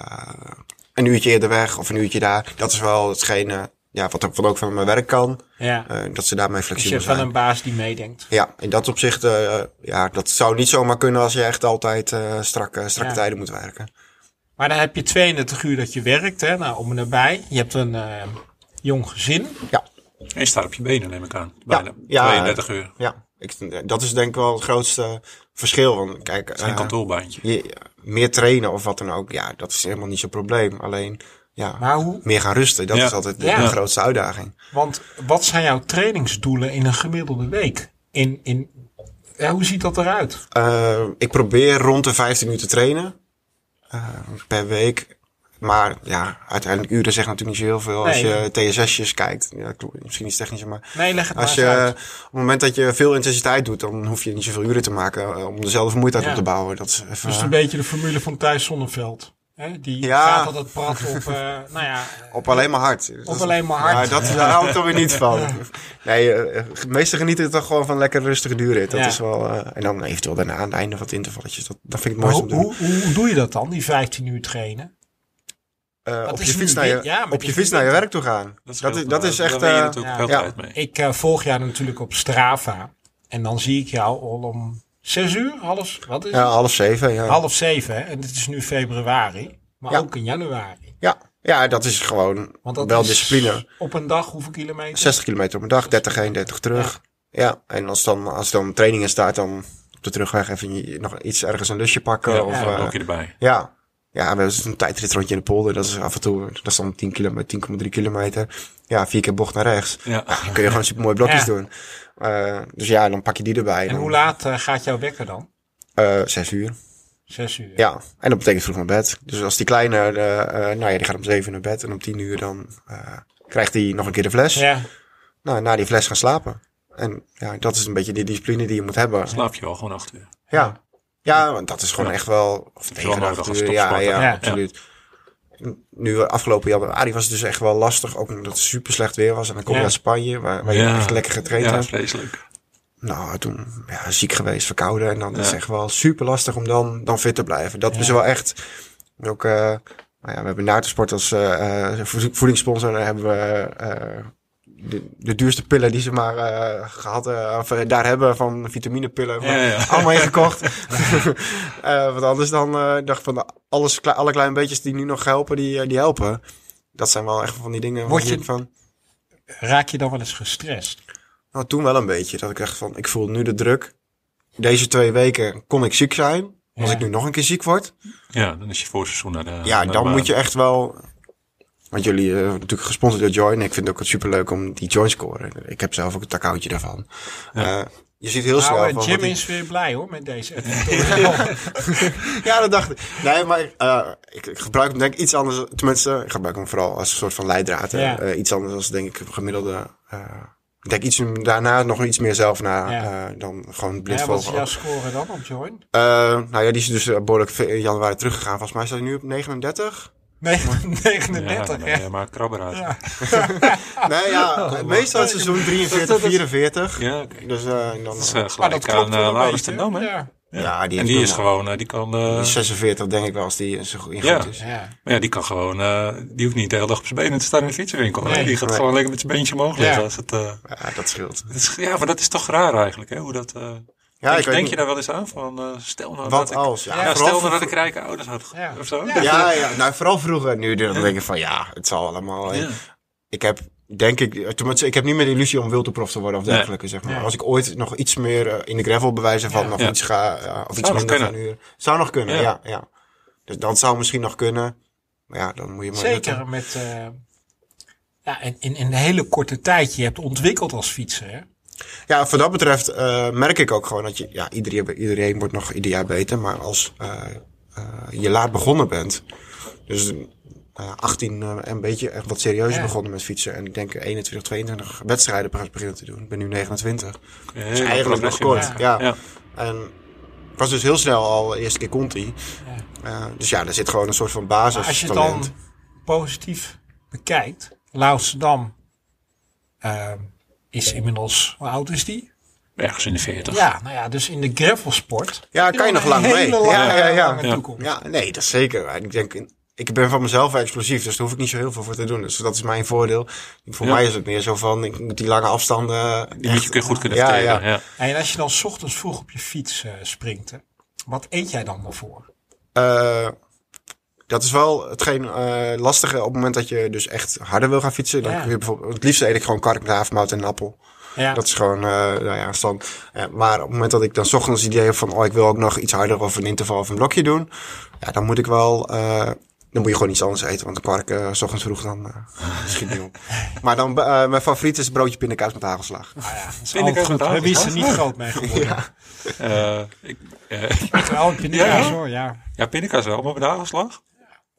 Speaker 1: een uurtje eerder weg of een uurtje daar. Dat is wel hetgene ja, wat, ook- wat ook van mijn werk kan.
Speaker 2: Ja,
Speaker 1: eh, dat ze daarmee
Speaker 2: dus je
Speaker 1: flexibel
Speaker 2: hebt wel
Speaker 1: zijn.
Speaker 2: een baas die meedenkt.
Speaker 1: Ja, in dat opzicht, eh, ja, dat zou niet zomaar kunnen als je echt altijd eh, strakke, strakke
Speaker 2: Ja.
Speaker 1: tijden moet werken.
Speaker 2: Maar dan heb je 32 uur dat je werkt, hè? Nou, om en nabij. Je hebt een eh, jong gezin.
Speaker 1: Ja,
Speaker 3: En je staat op je benen neem ik aan. Bijna
Speaker 1: ja.
Speaker 3: 32 uur.
Speaker 1: ja. Ik, dat is denk ik wel het grootste verschil. Want kijk,
Speaker 3: Geen
Speaker 1: eh,
Speaker 3: kantoorbaantje.
Speaker 1: je, meer trainen of wat dan ook, ja, dat is helemaal niet zo'n probleem. Alleen, ja,
Speaker 2: Maar hoe,
Speaker 1: meer gaan rusten, dat
Speaker 3: Ja.
Speaker 1: is altijd de,
Speaker 2: Ja.
Speaker 1: de grootste uitdaging.
Speaker 2: Want wat zijn jouw trainingsdoelen in een gemiddelde week? In, in, ja, hoe ziet dat eruit?
Speaker 1: Eh, ik probeer rond de 15 uur te trainen eh, per week. Maar ja, uiteindelijk uren zegt natuurlijk niet zo heel veel. Als
Speaker 2: Nee.
Speaker 1: je TSS'jes kijkt, ja, klopt, misschien iets technischer, maar...
Speaker 2: Nee, leg het maar
Speaker 1: Als
Speaker 2: eens
Speaker 1: je,
Speaker 2: uit.
Speaker 1: op het moment dat je veel intensiteit doet, dan hoef je niet zoveel uren te maken eh, om dezelfde vermoeidheid
Speaker 2: Ja.
Speaker 1: op te bouwen. Dat is even,
Speaker 2: Dus een beetje de formule van Thijs Zonneveld. Hè? Die
Speaker 1: Ja.
Speaker 2: gaat altijd prat op, eh, nou ja,
Speaker 1: Op alleen maar hard. Op
Speaker 2: alleen maar hard.
Speaker 1: dat, daar hou ik dan weer niet van. Nee, eh, meesten genieten er toch gewoon van lekker rustige duurrit. Dat
Speaker 2: Ja.
Speaker 1: is wel... eh, en dan eventueel daarna aan het einde wat intervalletjes. Dat, dat vind ik het
Speaker 2: maar
Speaker 1: mooiste
Speaker 2: hoe,
Speaker 1: om te doen.
Speaker 2: hoe, hoe doe je dat dan, die 15 uur trainen?
Speaker 1: Eh,
Speaker 2: dat
Speaker 1: op je
Speaker 2: is
Speaker 1: fiets
Speaker 2: nu
Speaker 1: naar je,
Speaker 2: win- ja, maar
Speaker 1: op
Speaker 2: dat
Speaker 1: je
Speaker 2: is
Speaker 1: fiets
Speaker 2: nu
Speaker 1: naar je
Speaker 2: winter.
Speaker 1: werk toe gaan. Dat,
Speaker 3: scheelt,
Speaker 1: is,
Speaker 3: maar
Speaker 1: dat is echt...
Speaker 3: Daar ben je
Speaker 1: eh,
Speaker 3: natuurlijk
Speaker 2: ja.
Speaker 3: ook
Speaker 1: Ja.
Speaker 3: tijd mee.
Speaker 2: Ik eh, volg jou natuurlijk op Strava. En dan zie ik jou al om 6 uur, half, wat is
Speaker 1: ja,
Speaker 2: het?
Speaker 1: half zeven. Ja.
Speaker 2: half 7. Hè? En het is nu februari. Maar
Speaker 1: Ja.
Speaker 2: ook in januari.
Speaker 1: Ja, ja dat is gewoon
Speaker 2: Want dat
Speaker 1: wel
Speaker 2: is
Speaker 1: discipline.
Speaker 2: Op een dag hoeveel kilometer?
Speaker 1: 60 kilometer op een dag, 30 heen, 30 terug. Ja, en als dan, als dan trainingen staat, dan op de terugweg even je- nog iets ergens een lusje pakken.
Speaker 3: Ja,
Speaker 1: of,
Speaker 3: ja,
Speaker 1: eh,
Speaker 3: ook hier erbij.
Speaker 1: ja. ja, we hebben dus een tijdritrondje in de polder. Dat is af en toe, dat is dan 10 kilometer, 10,3 kilometer. Ja, vier keer bocht naar rechts.
Speaker 3: Ja.
Speaker 1: Dan kun je gewoon super mooie blokjes
Speaker 2: Ja.
Speaker 1: doen. Eh, dus ja, dan pak je die erbij.
Speaker 2: En
Speaker 1: dan,
Speaker 2: hoe laat eh, gaat jouw wekker dan?
Speaker 1: eh, zes uur.
Speaker 2: Zes uur.
Speaker 1: Ja, en dat betekent vroeg naar bed. Dus als die kleine, eh, eh, nou ja, die gaat om zeven uur naar bed. En om tien uur dan eh, krijgt hij nog een keer de fles.
Speaker 2: Ja.
Speaker 1: Nou, na die fles gaan slapen. En ja, dat is een beetje die discipline die je moet hebben.
Speaker 3: Slaap je wel gewoon acht uur.
Speaker 1: Ja, ja want dat is gewoon
Speaker 3: Ja.
Speaker 1: echt wel... Of
Speaker 3: is wel
Speaker 1: tegen
Speaker 3: nodig
Speaker 1: acht
Speaker 3: als
Speaker 1: uur, ja,
Speaker 3: topsporter.
Speaker 1: ja,
Speaker 2: Ja.
Speaker 1: absoluut. Nu eh, afgelopen jaar bij Arie was het dus echt wel lastig. Ook omdat het super slecht weer was. En dan kom je
Speaker 2: Ja.
Speaker 1: uit Spanje, waar, waar je
Speaker 3: Ja.
Speaker 1: echt lekker getraind
Speaker 3: Ja,
Speaker 1: hebt.
Speaker 3: vreselijk.
Speaker 1: Nou, toen ja, ziek geweest, verkouden. En dan is
Speaker 3: Ja.
Speaker 1: het echt wel super lastig om dan, dan fit te blijven. Dat is wel echt. Ook, eh, nou ja, we hebben Naartensport als eh, eh, voed- voedingssponsor. Dan hebben we eh, de, de duurste pillen die ze maar eh, gehad eh, of, eh, daar hebben van vitaminepillen.
Speaker 3: Ja, ja.
Speaker 1: Allemaal ingekocht. Eh want anders dan eh, dacht ik van alles, kle- alle kleine beetjes die nu nog helpen, die, eh, die helpen. Dat zijn wel echt van die dingen.
Speaker 2: Word
Speaker 1: waar
Speaker 2: je-
Speaker 1: ik van?
Speaker 2: Raak je dan wel eens gestrest?
Speaker 1: Nou, toen wel een beetje. Dat ik echt van, ik voel nu de druk. Deze twee weken kon ik ziek zijn. Als
Speaker 2: Ja.
Speaker 1: ik nu nog een keer ziek word.
Speaker 3: Ja, dan is je voorseizoen naar de...
Speaker 1: Ja,
Speaker 3: naar de
Speaker 1: dan
Speaker 3: baan.
Speaker 1: moet je echt wel... Want jullie eh, natuurlijk gesponsord door Join. Ik vind het ook superleuk om die Join scoren. Ik heb zelf ook een takhoutje daarvan. Eh, je ziet heel snel...
Speaker 2: Nou,
Speaker 1: van
Speaker 2: eh, Jim
Speaker 1: wat die-
Speaker 2: is weer blij hoor met deze. editorial.
Speaker 1: Ja, dat dacht ik. Nee, maar eh, ik, ik gebruik hem denk ik iets anders. Tenminste, ik gebruik hem vooral als een soort van leidraad. hè.
Speaker 2: Ja.
Speaker 1: Eh, iets anders als denk ik gemiddelde... eh, ik denk iets, daarna nog iets meer zelf na
Speaker 2: Ja.
Speaker 1: eh, dan gewoon blind
Speaker 2: ja, wat is
Speaker 1: volgen.
Speaker 2: jouw score dan op Join?
Speaker 1: Eh, nou ja, die is dus eh, behoorlijk ve- in januari teruggegaan. Volgens mij staat hij nu op 39.
Speaker 2: Nee,
Speaker 3: Ja,
Speaker 2: 39.
Speaker 3: dan
Speaker 2: hè?
Speaker 3: ben je maar krabber uit. Ja,
Speaker 2: Ja.
Speaker 3: Ah.
Speaker 1: nee,
Speaker 3: Oh,
Speaker 1: ja, meestal is het seizoen 43, 44.
Speaker 3: oké.
Speaker 1: Dus eh, en dan,
Speaker 3: Dat is eh,
Speaker 2: Maar
Speaker 3: gelijk
Speaker 2: Ah, dat klopt
Speaker 3: aan
Speaker 2: wel
Speaker 3: eh
Speaker 2: een
Speaker 3: Laurens
Speaker 2: beetje,
Speaker 3: ten Dam, hè?
Speaker 2: Ja.
Speaker 1: Ja, die
Speaker 3: en
Speaker 1: heeft
Speaker 3: die is
Speaker 1: nog-
Speaker 3: gewoon, eh, die kan... eh,
Speaker 1: die is 46 denk ik wel, als die zo goed in
Speaker 3: Ja.
Speaker 1: goed is.
Speaker 2: Ja.
Speaker 3: maar ja, die kan gewoon... eh, die hoeft niet de hele dag op zijn benen te staan in de fietsenwinkel. hè?
Speaker 2: Nee.
Speaker 3: Die gaat
Speaker 1: Nee.
Speaker 3: gewoon lekker met zijn beentje omhoog
Speaker 2: Ja.
Speaker 3: liggen. Als het, eh,
Speaker 1: Ja, dat scheelt.
Speaker 3: het is, ja, maar dat is toch raar eigenlijk, hè? Hoe dat... eh,
Speaker 1: Ja,
Speaker 3: denk
Speaker 1: ik weet
Speaker 3: denk
Speaker 1: niet.
Speaker 3: je daar wel eens aan van... eh, stel nou
Speaker 1: Wat
Speaker 3: dat ik...
Speaker 1: als? Ja,
Speaker 3: Ja,
Speaker 1: vooral
Speaker 3: stel nou
Speaker 1: voor-
Speaker 3: dat ik rijke ouders had. ge-
Speaker 2: Ja.
Speaker 3: Of zo.
Speaker 2: Ja.
Speaker 3: Dat, eh,
Speaker 1: Ja, ja, nou vooral vroeger. Nu dan denk ik van ja, het zal allemaal. eh,
Speaker 3: ja.
Speaker 1: Ik heb denk ik, tenminste, ik heb niet meer de illusie om wildtoprof te worden of
Speaker 3: Nee.
Speaker 1: dergelijke. Zeg maar.
Speaker 2: Nee.
Speaker 1: Als ik ooit nog iets meer eh, in de gravel bewijzen van
Speaker 2: Ja.
Speaker 1: nog
Speaker 3: Ja.
Speaker 1: iets ga, eh, of iets
Speaker 3: nog
Speaker 1: minder gaan
Speaker 3: kunnen.
Speaker 1: uren. Zou nog kunnen,
Speaker 3: Ja.
Speaker 1: ja. ja, Dus dat zou misschien nog kunnen. Maar ja, dan moet je maar
Speaker 2: Zeker met. eh, ja, en in, in een hele korte tijd. Je hebt ontwikkeld als fietser. Hè?
Speaker 1: Ja, voor dat betreft eh, merk ik ook gewoon dat je, ja, iedereen, iedereen wordt nog ieder jaar beter, maar als eh, eh, je laat begonnen bent, dus eh 18 eh, een beetje echt wat serieuzer
Speaker 2: Ja.
Speaker 1: begonnen met fietsen en ik denk 21, 22 wedstrijden pas beginnen te doen. Ik ben nu 29.
Speaker 3: Ja,
Speaker 1: Dus eigenlijk nog
Speaker 3: progressie
Speaker 1: kort,
Speaker 3: maken.
Speaker 1: ja.
Speaker 3: Ja.
Speaker 1: En ik was dus heel snel al, de eerste keer Conti. Eh, dus ja, daar zit gewoon een soort van basis.
Speaker 2: Maar als je het dan positief bekijkt. Lauwsdam eh, is inmiddels. Hoe oud is die?
Speaker 3: Ergens in de 40.
Speaker 2: Ja, nou ja, dus in de gravelsport.
Speaker 1: Ja, kan je nog lang
Speaker 2: een
Speaker 1: mee.
Speaker 2: hele Lange,
Speaker 1: ja, ja, ja.
Speaker 2: lange
Speaker 3: Ja.
Speaker 2: toekomst.
Speaker 1: Ja, nee, dat is zeker. En Ik denk, ik ben van mezelf wel explosief, dus daar hoef ik niet zo heel veel voor te doen. Dus dat is mijn voordeel. Voor
Speaker 3: Ja.
Speaker 1: mij is het meer zo van, ik moet die lange afstanden.
Speaker 3: Die moet je kun- goed kunnen
Speaker 1: Ja,
Speaker 3: verteren. Ja,
Speaker 1: ja.
Speaker 2: En als je dan 's ochtends vroeg op je fiets eh, springt. hè, wat eet jij dan daarvoor?
Speaker 1: eh, dat is wel hetgeen eh, lastige op het moment dat je dus echt harder wil gaan fietsen. Dan
Speaker 2: Ja.
Speaker 1: kun je bijvoorbeeld, het liefst eet ik gewoon kark met havermout en een appel.
Speaker 2: Ja,
Speaker 1: Dat is gewoon, eh nou ja, stand. Eh, maar op het moment dat ik dan 's ochtends het idee heb van, oh, ik wil ook nog iets harder of een interval of een blokje doen. Ja, dan moet ik wel, eh, dan moet je gewoon iets anders eten. Want de kwark, eh, 's ochtends vroeg, dan eh schiet niet op. Maar dan, be- eh, mijn favoriet is broodje pindakaas met hagelslag.
Speaker 2: nou ja, dat is
Speaker 3: Vind ik
Speaker 2: altijd
Speaker 3: ook
Speaker 2: goed.
Speaker 3: wel
Speaker 2: Hè? Wie is er
Speaker 3: aardig,
Speaker 2: niet groot mee geworden?
Speaker 3: Eh, ik, eh,
Speaker 2: Terwijl ik je niet
Speaker 3: Ja?
Speaker 2: eens, hoor, ja.
Speaker 3: ja, pindakaas wel, maar met de hagelslag?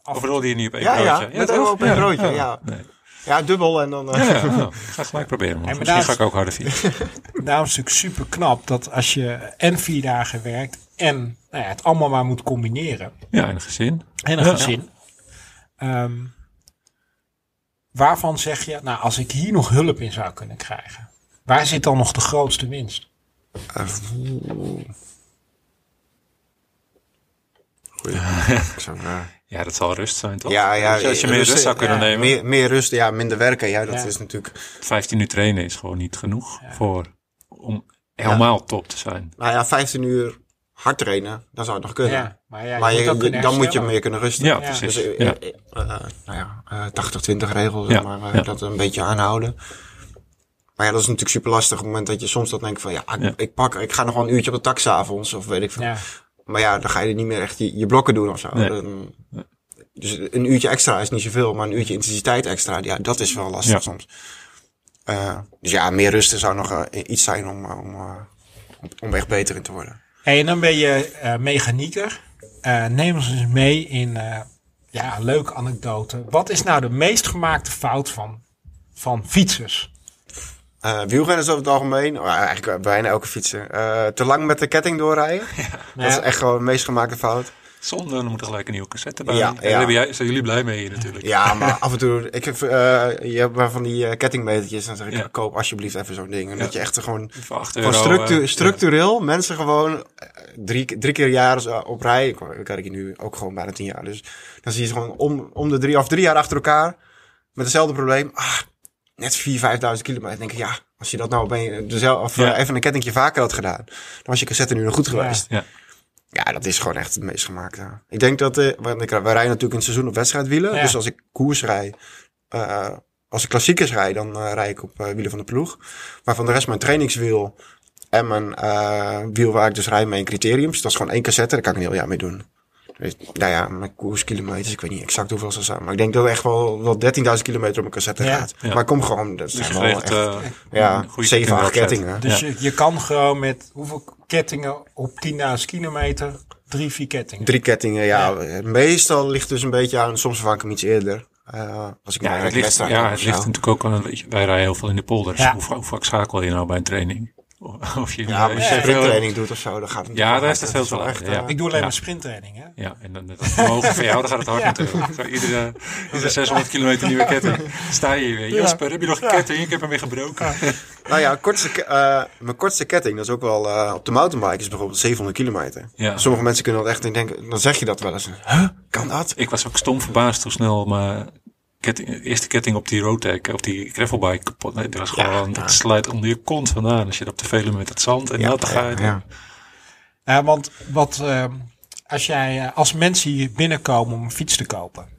Speaker 3: Of rolde je niet op één
Speaker 1: Ja, ja,
Speaker 3: broodje?
Speaker 1: met
Speaker 3: toch?
Speaker 1: ook op één broodje, ja.
Speaker 3: Nee.
Speaker 1: Ja, dubbel en dan... eh,
Speaker 3: Ja, ja, ja. Ik ga gelijk proberen. Man.
Speaker 2: maar
Speaker 3: Misschien
Speaker 2: daar
Speaker 3: ga
Speaker 2: is-
Speaker 3: ik ook harder fietsen.
Speaker 2: Daarom Nou, is het natuurlijk super knap dat als je en vier dagen werkt en nou ja, het allemaal maar moet combineren.
Speaker 3: Ja, en een gezin.
Speaker 2: En een
Speaker 3: Ja.
Speaker 2: gezin. Ehm, waarvan zeg je, nou als ik hier nog hulp in zou kunnen krijgen. Waar zit dan nog de grootste winst?
Speaker 1: goeie. Zo'n, eh,
Speaker 3: Ja, dat zal rust zijn, toch?
Speaker 1: ja, ja,
Speaker 3: Dus als je meer rust zou kunnen
Speaker 1: ja,
Speaker 3: nemen.
Speaker 1: Meer, meer rust, ja, minder werken. Ja, dat
Speaker 2: Ja.
Speaker 1: is natuurlijk...
Speaker 3: 15 uur trainen is gewoon niet genoeg voor, om helemaal top te zijn.
Speaker 1: Nou ja, 15 uur hard trainen, dan zou het nog kunnen.
Speaker 2: Ja, maar ja, je
Speaker 1: maar
Speaker 2: moet
Speaker 1: je,
Speaker 2: ook kunnen
Speaker 1: je- dan moet je
Speaker 2: herstellen.
Speaker 1: meer kunnen rusten.
Speaker 3: Ja,
Speaker 2: Ja.
Speaker 3: precies.
Speaker 1: Dus eh,
Speaker 3: ja.
Speaker 1: eh, eh, nou ja, eh, 80-20 regel, zeg
Speaker 3: Ja,
Speaker 1: maar, eh,
Speaker 3: ja.
Speaker 1: dat een beetje aanhouden. Maar ja, dat is natuurlijk super lastig. Op het moment dat je soms dat denkt van, ja, ik,
Speaker 3: Ja.
Speaker 1: ik pak, ik ga nog wel een uurtje op de tak s'avonds, of weet ik veel.
Speaker 2: Ja.
Speaker 1: Maar ja, dan ga je niet meer echt je, je blokken doen of zo.
Speaker 3: Nee.
Speaker 1: Dan- dus een uurtje extra is niet zoveel, maar een uurtje intensiteit extra, ja, dat is wel lastig
Speaker 3: Ja.
Speaker 1: soms. Eh, dus ja, meer rusten zou nog eh, iets zijn om, eh, om, eh, om- om echt beter in te worden.
Speaker 2: Hey, en dan ben je eh, mechanieker. Eh, neem ons eens mee in eh, ja, een leuke anekdote. Wat is nou de meest gemaakte fout van, van fietsers?
Speaker 1: Eh wielrenners over het algemeen, maar eigenlijk bijna elke fietser, eh, te lang met de ketting doorrijden. Dat is
Speaker 2: Ja.
Speaker 1: echt gewoon de meest gemaakte fout.
Speaker 3: Zonde, dan moet er gelijk een nieuwe cassette bij.
Speaker 1: Ja,
Speaker 3: Ja,
Speaker 1: ja.
Speaker 3: Daar ben jij- zijn jullie blij mee hier natuurlijk.
Speaker 1: Ja, maar af en toe, ik heb, eh, je hebt maar van die eh, kettingmetertjes, dan zeg ik,
Speaker 3: Ja.
Speaker 1: koop alsjeblieft even zo'n ding. En dat je echt er gewoon
Speaker 3: Voor 8 euro.
Speaker 1: Gewoon structu-
Speaker 3: eh,
Speaker 1: structureel mensen gewoon eh, drie, drie keer jaren zo op rij. Ik, ik werk hier nu ook gewoon bijna tien jaar. Dus dan zie je ze gewoon om, om de drie of drie jaar achter elkaar met hetzelfde probleem. Ah, net 4.000, 5.000 kilometer. Dan Denk ik, ja, als je dat nou ben je dezelfde, of
Speaker 3: Ja.
Speaker 1: eh, even een kettingje vaker had gedaan, dan was je cassette nu nog goed geweest.
Speaker 3: Ja.
Speaker 1: Ja, dat is gewoon echt het meest gemaakte. Ik denk dat, eh want ik, wij rijden natuurlijk in het seizoen op wedstrijdwielen.
Speaker 2: Ja.
Speaker 1: Dus als ik koers rij, eh, als ik klassiekers rij, dan eh, rij ik op eh, wielen van de ploeg. Maar van de rest mijn trainingswiel en mijn eh, wiel waar ik dus rij, mijn criteriums. Dat is gewoon één cassette, daar kan ik een heel jaar mee doen. Dus, nou ja, mijn koerskilometers, ik weet niet exact hoeveel ze zijn. Maar ik denk dat er echt wel, wel 13.000 kilometer op mijn cassette
Speaker 2: Ja.
Speaker 1: gaat.
Speaker 3: Ja.
Speaker 1: Maar ik kom gewoon, dat
Speaker 3: Dus
Speaker 1: zijn
Speaker 3: je
Speaker 1: wel
Speaker 3: kreeg
Speaker 1: echt,
Speaker 3: het, eh,
Speaker 1: ja,
Speaker 3: een goede
Speaker 1: 7, 8
Speaker 3: ketting
Speaker 1: kettingen.
Speaker 2: Dus
Speaker 3: Ja.
Speaker 2: je, je kan gewoon met hoeveel kettingen op 10.000 kilometer? Drie, vier kettingen.
Speaker 1: Drie kettingen, ja. Meestal ligt dus een beetje aan, soms vaak hem iets eerder. Eh, als ik
Speaker 3: Ja,
Speaker 1: naar
Speaker 3: het
Speaker 1: een
Speaker 3: ligt,
Speaker 1: wedstrijd ga
Speaker 3: ja,
Speaker 1: of
Speaker 3: het
Speaker 1: zo.
Speaker 3: ligt natuurlijk ook aan, weet je, wij rijden heel veel in de polders.
Speaker 2: Ja.
Speaker 3: Hoe, va- hoe vaak schakel je nou bij een training? Of of je,
Speaker 1: Ja, maar als je
Speaker 2: Ja.
Speaker 1: sprinttraining doet of zo, dan gaat het
Speaker 3: Ja,
Speaker 1: niet
Speaker 3: daar is
Speaker 1: hard.
Speaker 3: het
Speaker 1: Dat
Speaker 3: veel
Speaker 1: wel
Speaker 3: te
Speaker 1: echt,
Speaker 3: laag,
Speaker 1: eh,
Speaker 2: Ik doe alleen
Speaker 3: Ja.
Speaker 2: maar sprinttraining. Hè?
Speaker 3: Ja, en dan, dat vermogen van jou, dan gaat het hard
Speaker 2: Ja.
Speaker 3: natuurlijk. Zo, iedere, iedere 600 kilometer nieuwe ketting sta je hier weer. Jasper, heb je nog een ketting? Ik heb hem weer gebroken.
Speaker 1: Nou ja, kortste, ke- eh, mijn kortste ketting, dat is ook wel eh, op de mountainbike, is bijvoorbeeld 700 kilometer.
Speaker 3: Ja.
Speaker 1: Sommige mensen kunnen dat echt niet denken, dan zeg je dat wel eens. Huh? Kan dat?
Speaker 3: Ik was ook stom verbaasd hoe snel mijn ketting, eerste ketting op die roadtech, op die gravelbike kapot. Nee, dat was gewoon, dat slijt onder je kont vandaan. Als je dat op de velen met het zand en dat
Speaker 1: ja,
Speaker 3: gaat.
Speaker 1: ja.
Speaker 2: Ja, want wat, ehm, als, jij, eh, als mensen hier binnenkomen om een fiets te kopen,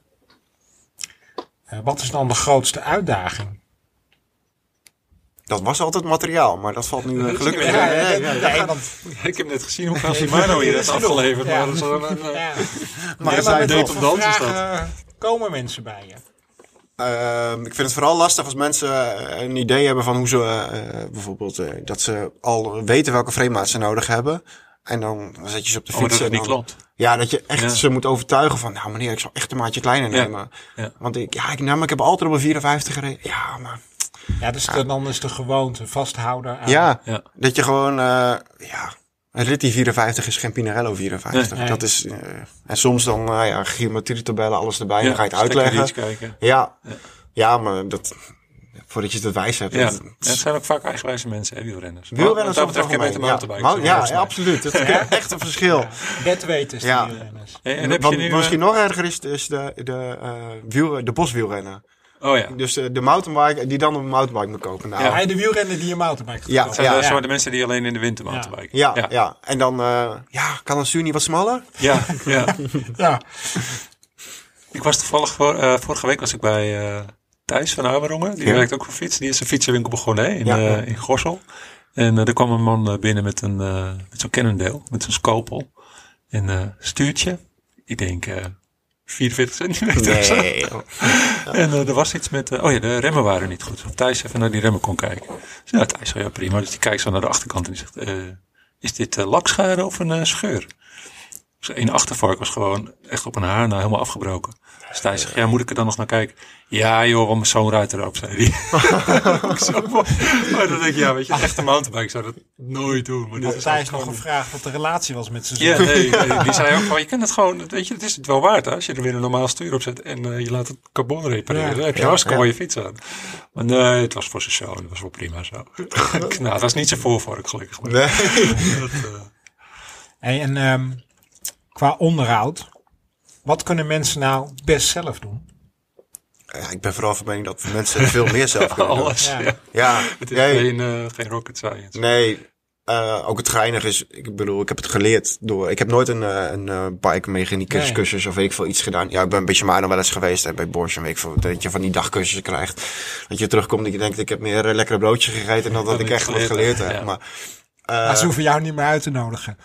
Speaker 2: eh, wat is dan de grootste uitdaging?
Speaker 1: Dat was altijd materiaal, maar dat valt nu eh, gelukkig
Speaker 3: Ja,
Speaker 1: mee. Nee, nee, nee, dat
Speaker 2: nee,
Speaker 1: gaat-
Speaker 2: want-
Speaker 3: Ik heb net gezien hoe Frans Shimano hier is afgeleverd.
Speaker 2: Ja.
Speaker 3: Maar dat is wel een, eh,
Speaker 2: ja.
Speaker 1: Maar
Speaker 2: Ja,
Speaker 1: zij
Speaker 2: met
Speaker 1: deed
Speaker 2: wat
Speaker 3: op
Speaker 2: voor
Speaker 3: dans is dat.
Speaker 2: vragen komen mensen bij je?
Speaker 1: Ehm, ik vind het vooral lastig als mensen eh, een idee hebben van hoe ze eh, bijvoorbeeld eh, dat ze al weten welke framemaat ze nodig hebben. En dan zet je ze op de
Speaker 3: Oh, maar
Speaker 1: fiets.
Speaker 3: dat het
Speaker 1: en
Speaker 3: niet
Speaker 1: dan-
Speaker 3: klopt.
Speaker 1: Ja, dat je echt
Speaker 3: Ja.
Speaker 1: ze moet overtuigen van, nou meneer, ik zal echt een maatje kleiner
Speaker 3: Ja.
Speaker 1: nemen.
Speaker 3: Ja.
Speaker 1: Want ik, ja, ik, nou, maar ik heb altijd op een 54 gereden. Ja, maar
Speaker 2: Ja, dus de- dan is de gewoonte vasthouden aan.
Speaker 1: ja,
Speaker 3: Ja.
Speaker 1: dat je gewoon, eh, ja, een Ritty 54 is geen Pinarello 54.
Speaker 3: Nee.
Speaker 2: Nee.
Speaker 1: Dat is, eh, en soms dan, nou ja, geometrietabellen, alles erbij, en dan ga je het
Speaker 3: stekker
Speaker 1: uitleggen.
Speaker 3: iets kijken.
Speaker 1: Ja, ja, maar dat, voordat je het wijs hebt,
Speaker 3: Ja.
Speaker 1: dat-
Speaker 3: Ja, het zijn ook vaak eigenwijze mensen, hè, wielrenners.
Speaker 1: Wielrenners
Speaker 3: Maar
Speaker 1: over het
Speaker 3: wat dat betreft ken je
Speaker 1: algemeen, ja.
Speaker 3: beter mountainbikes
Speaker 1: Mou-
Speaker 3: dan
Speaker 1: Ja, ja,
Speaker 3: volgens
Speaker 1: absoluut. Dat is echt een verschil.
Speaker 2: Bedweters.
Speaker 1: Ja.
Speaker 2: die erin is.
Speaker 3: mij. En, en heb
Speaker 1: Wat
Speaker 3: je nu, eh,
Speaker 1: misschien nog erger is, is de, de, eh, wiel, de boswielrennen.
Speaker 3: Oh ja.
Speaker 1: Dus de, de mountainbike, die dan op een mountainbike moet kopen. Nou,
Speaker 3: Ja.
Speaker 2: Hij de wielrenner die je mountainbike gaat
Speaker 1: Ja,
Speaker 2: kopen.
Speaker 3: Dat zijn
Speaker 1: ja.
Speaker 3: de- zo de mensen die alleen in de winter mountainbiken.
Speaker 1: Ja, ja.
Speaker 3: ja.
Speaker 1: En dan, eh, ja, kan een stuur niet wat smaller?
Speaker 3: ja. ja.
Speaker 2: Ja.
Speaker 3: Ik was toevallig voor, eh, vorige week was ik bij eh, Thijs van Amerongen. Die
Speaker 1: Ja.
Speaker 3: werkt ook voor fiets. Die is een fietsenwinkel begonnen hè, in,
Speaker 1: Ja,
Speaker 3: eh,
Speaker 1: ja.
Speaker 3: in Gorssel. En eh, er kwam een man eh, binnen met, een, eh, met zo'n Cannondale, met zo'n scopel. En eh, stuurtje, ik denk eh 44 centimeter of zo. En eh, er was iets met, eh, oh ja, de remmen waren niet goed. Of Thijs even naar die remmen kon kijken. Dus ja, Thijs zei, ja prima. Dus die kijkt zo naar de achterkant en die zegt, eh, is dit eh, lakschade of een eh, scheur? Dus één achtervark was gewoon echt op een haar na helemaal afgebroken. Dus Thijs zegt, ja, moet ik er dan nog naar kijken? Ja joh, want mijn zoon rijdt erop, zei hij. Ook zo mooi. maar dan denk je, ja weet je, een echte mountainbike zou dat nooit doen. Maar dit is
Speaker 2: Thijs
Speaker 3: gewoon-
Speaker 2: nog gevraagd wat de relatie was met zijn zoon.
Speaker 3: ja, nee, nee, die zei ook van, je kan het gewoon, weet je, het is het wel waard hè, als je er weer een normaal stuur op zet en eh, je laat het carbon repareren.
Speaker 2: Ja.
Speaker 3: dan heb je
Speaker 1: Ja,
Speaker 3: hartstikke
Speaker 1: ja.
Speaker 3: mooie fiets aan. Maar nee, het was voor zijn zoon, dat was wel prima zo. nou, dat is niet zijn voorvork gelukkig. Maar
Speaker 1: Nee.
Speaker 3: dat, eh,
Speaker 2: Hey, en ehm, qua onderhoud, wat kunnen mensen nou best zelf doen?
Speaker 1: Ja, ik ben vooral van mening dat mensen veel meer zelf kunnen doen.
Speaker 3: alles,
Speaker 2: Ja.
Speaker 3: ja.
Speaker 1: Ja,
Speaker 3: Het is
Speaker 1: nee.
Speaker 3: geen, eh, geen rocket science.
Speaker 1: nee. Eh, eh, ook het geinige is, ik bedoel, ik heb het geleerd door. Ik heb nooit een, eh, een eh, bike mechanicus
Speaker 2: Nee.
Speaker 1: cursus of weet ik veel iets gedaan. Ja, ik ben een beetje maar dan wel eens geweest en bij Bosch en weet ik veel. Dat je van die dagcursussen krijgt. Dat je terugkomt en je denkt, ik heb meer een lekkere broodje gegeten dan dat ik
Speaker 3: Dan ik
Speaker 1: echt wat
Speaker 3: geleerd
Speaker 1: geleerd
Speaker 3: heb,
Speaker 1: heb.
Speaker 3: ja.
Speaker 1: Maar
Speaker 3: Eh.
Speaker 2: Maar ze hoeven jou niet meer uit te nodigen.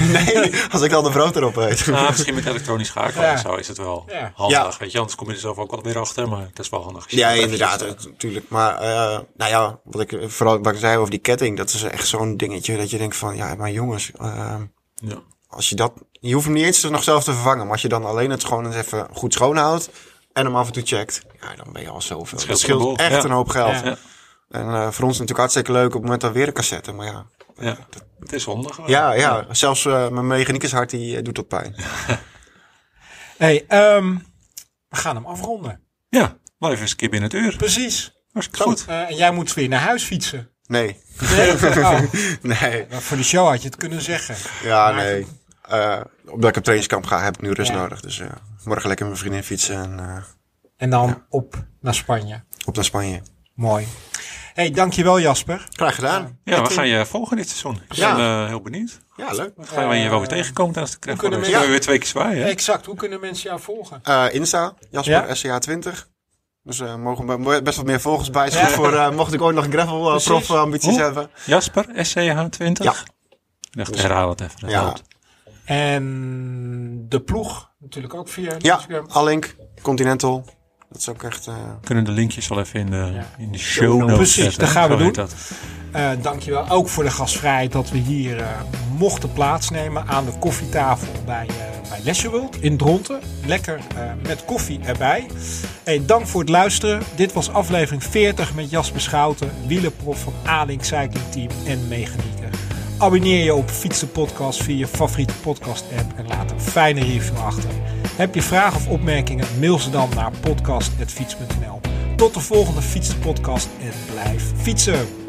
Speaker 1: nee, als ik dan de brood erop eet.
Speaker 3: Ah, misschien met elektronisch schakelen
Speaker 2: Ja.
Speaker 3: en zo is het wel
Speaker 2: Ja.
Speaker 3: handig.
Speaker 1: Ja.
Speaker 3: Weet je, anders kom je er zelf ook wel weer achter, maar het is wel handig.
Speaker 1: Ja, inderdaad, natuurlijk. Maar eh, nou ja, wat ik vooral wat ik zei over die ketting, dat is echt zo'n dingetje dat je denkt van, ja, maar jongens, ehm,
Speaker 3: Ja.
Speaker 1: als je dat, je hoeft hem niet eens nog zelf te vervangen, maar als je dan alleen het gewoon eens even goed schoonhoudt en hem af en toe checkt, ja, dan ben je al zoveel.
Speaker 3: scheelt
Speaker 1: Dat scheelt
Speaker 3: een boel,
Speaker 1: echt
Speaker 3: ja.
Speaker 1: een hoop geld.
Speaker 2: Ja.
Speaker 3: Ja.
Speaker 1: En eh, voor ons natuurlijk hartstikke leuk op het moment dat we weer een cassette, maar ja.
Speaker 3: Ja, het is handig. wel.
Speaker 1: Ja, ja, zelfs eh, mijn mechaniekershart die eh, doet dat pijn.
Speaker 2: hey, ehm, we gaan hem afronden.
Speaker 3: Ja, wel even eens een keer binnen het uur.
Speaker 2: Precies.
Speaker 3: Hartstikke goed.
Speaker 2: Eh, en jij moet weer naar huis fietsen.
Speaker 1: Nee,
Speaker 2: Nee. Oh,
Speaker 1: nee,
Speaker 2: nou, voor de show had je het kunnen zeggen.
Speaker 1: ja,
Speaker 2: Maar-
Speaker 1: nee. Eh, omdat ik op trainingskamp ga, heb ik nu rust
Speaker 2: Ja.
Speaker 1: nodig. Dus eh, morgen lekker met mijn vriendin fietsen en eh,
Speaker 2: En dan op naar Spanje.
Speaker 1: op naar Spanje.
Speaker 2: Mooi. hey, dankjewel Jasper.
Speaker 1: Graag gedaan.
Speaker 3: Ja, we gaan je volgen dit seizoen. Ik
Speaker 1: Ja.
Speaker 3: ben eh, heel benieuwd.
Speaker 1: Ja, leuk.
Speaker 3: Dan gaan we je wel weer tegenkomen tijdens de krijg.
Speaker 2: hoe kunnen
Speaker 3: Dan
Speaker 1: mensen-
Speaker 3: kunnen we weer twee keer zwaaien. hè?
Speaker 2: Exact, hoe kunnen mensen jou volgen?
Speaker 1: Eh, Insta, Jasper
Speaker 2: Ja?
Speaker 1: SCH20. Dus eh mogen we best wat meer volgers bij. Is
Speaker 2: Ja.
Speaker 1: goed voor, eh, mocht ik ooit nog een gravel eh,
Speaker 2: Precies.
Speaker 1: prof eh, ambities
Speaker 3: Hoe?
Speaker 1: hebben.
Speaker 3: Jasper, SCH20.
Speaker 1: Ja.
Speaker 3: Echt, herhaal het even. dat
Speaker 1: Ja.
Speaker 3: helpt.
Speaker 2: En de ploeg, natuurlijk ook via
Speaker 1: Ja,
Speaker 2: Instagram.
Speaker 1: Allink, Continental. Dat is ook echt... eh,
Speaker 3: We kunnen de linkjes al even in de, in de
Speaker 1: Show
Speaker 3: show
Speaker 1: notes.
Speaker 3: notes
Speaker 2: Precies,
Speaker 3: zetten.
Speaker 2: dat gaan we
Speaker 3: Zo heet
Speaker 2: doen.
Speaker 3: Dat.
Speaker 2: Eh, dankjewel ook voor de gastvrijheid dat we hier eh, mochten plaatsnemen aan de koffietafel bij, eh bij Lesjeworld in Dronten. Lekker eh, met koffie erbij. Hey, dank voor het luisteren. Dit was aflevering 40 met Jasper Schouten, wielerprof van Alink Cycling Team en Mechanieker. Abonneer je op Fiets de Podcast via je favoriete podcast app en laat een fijne review achter. Heb je vragen of opmerkingen? Mail ze dan naar podcast.fiets.nl. Tot de volgende Fiets de Podcast en blijf fietsen!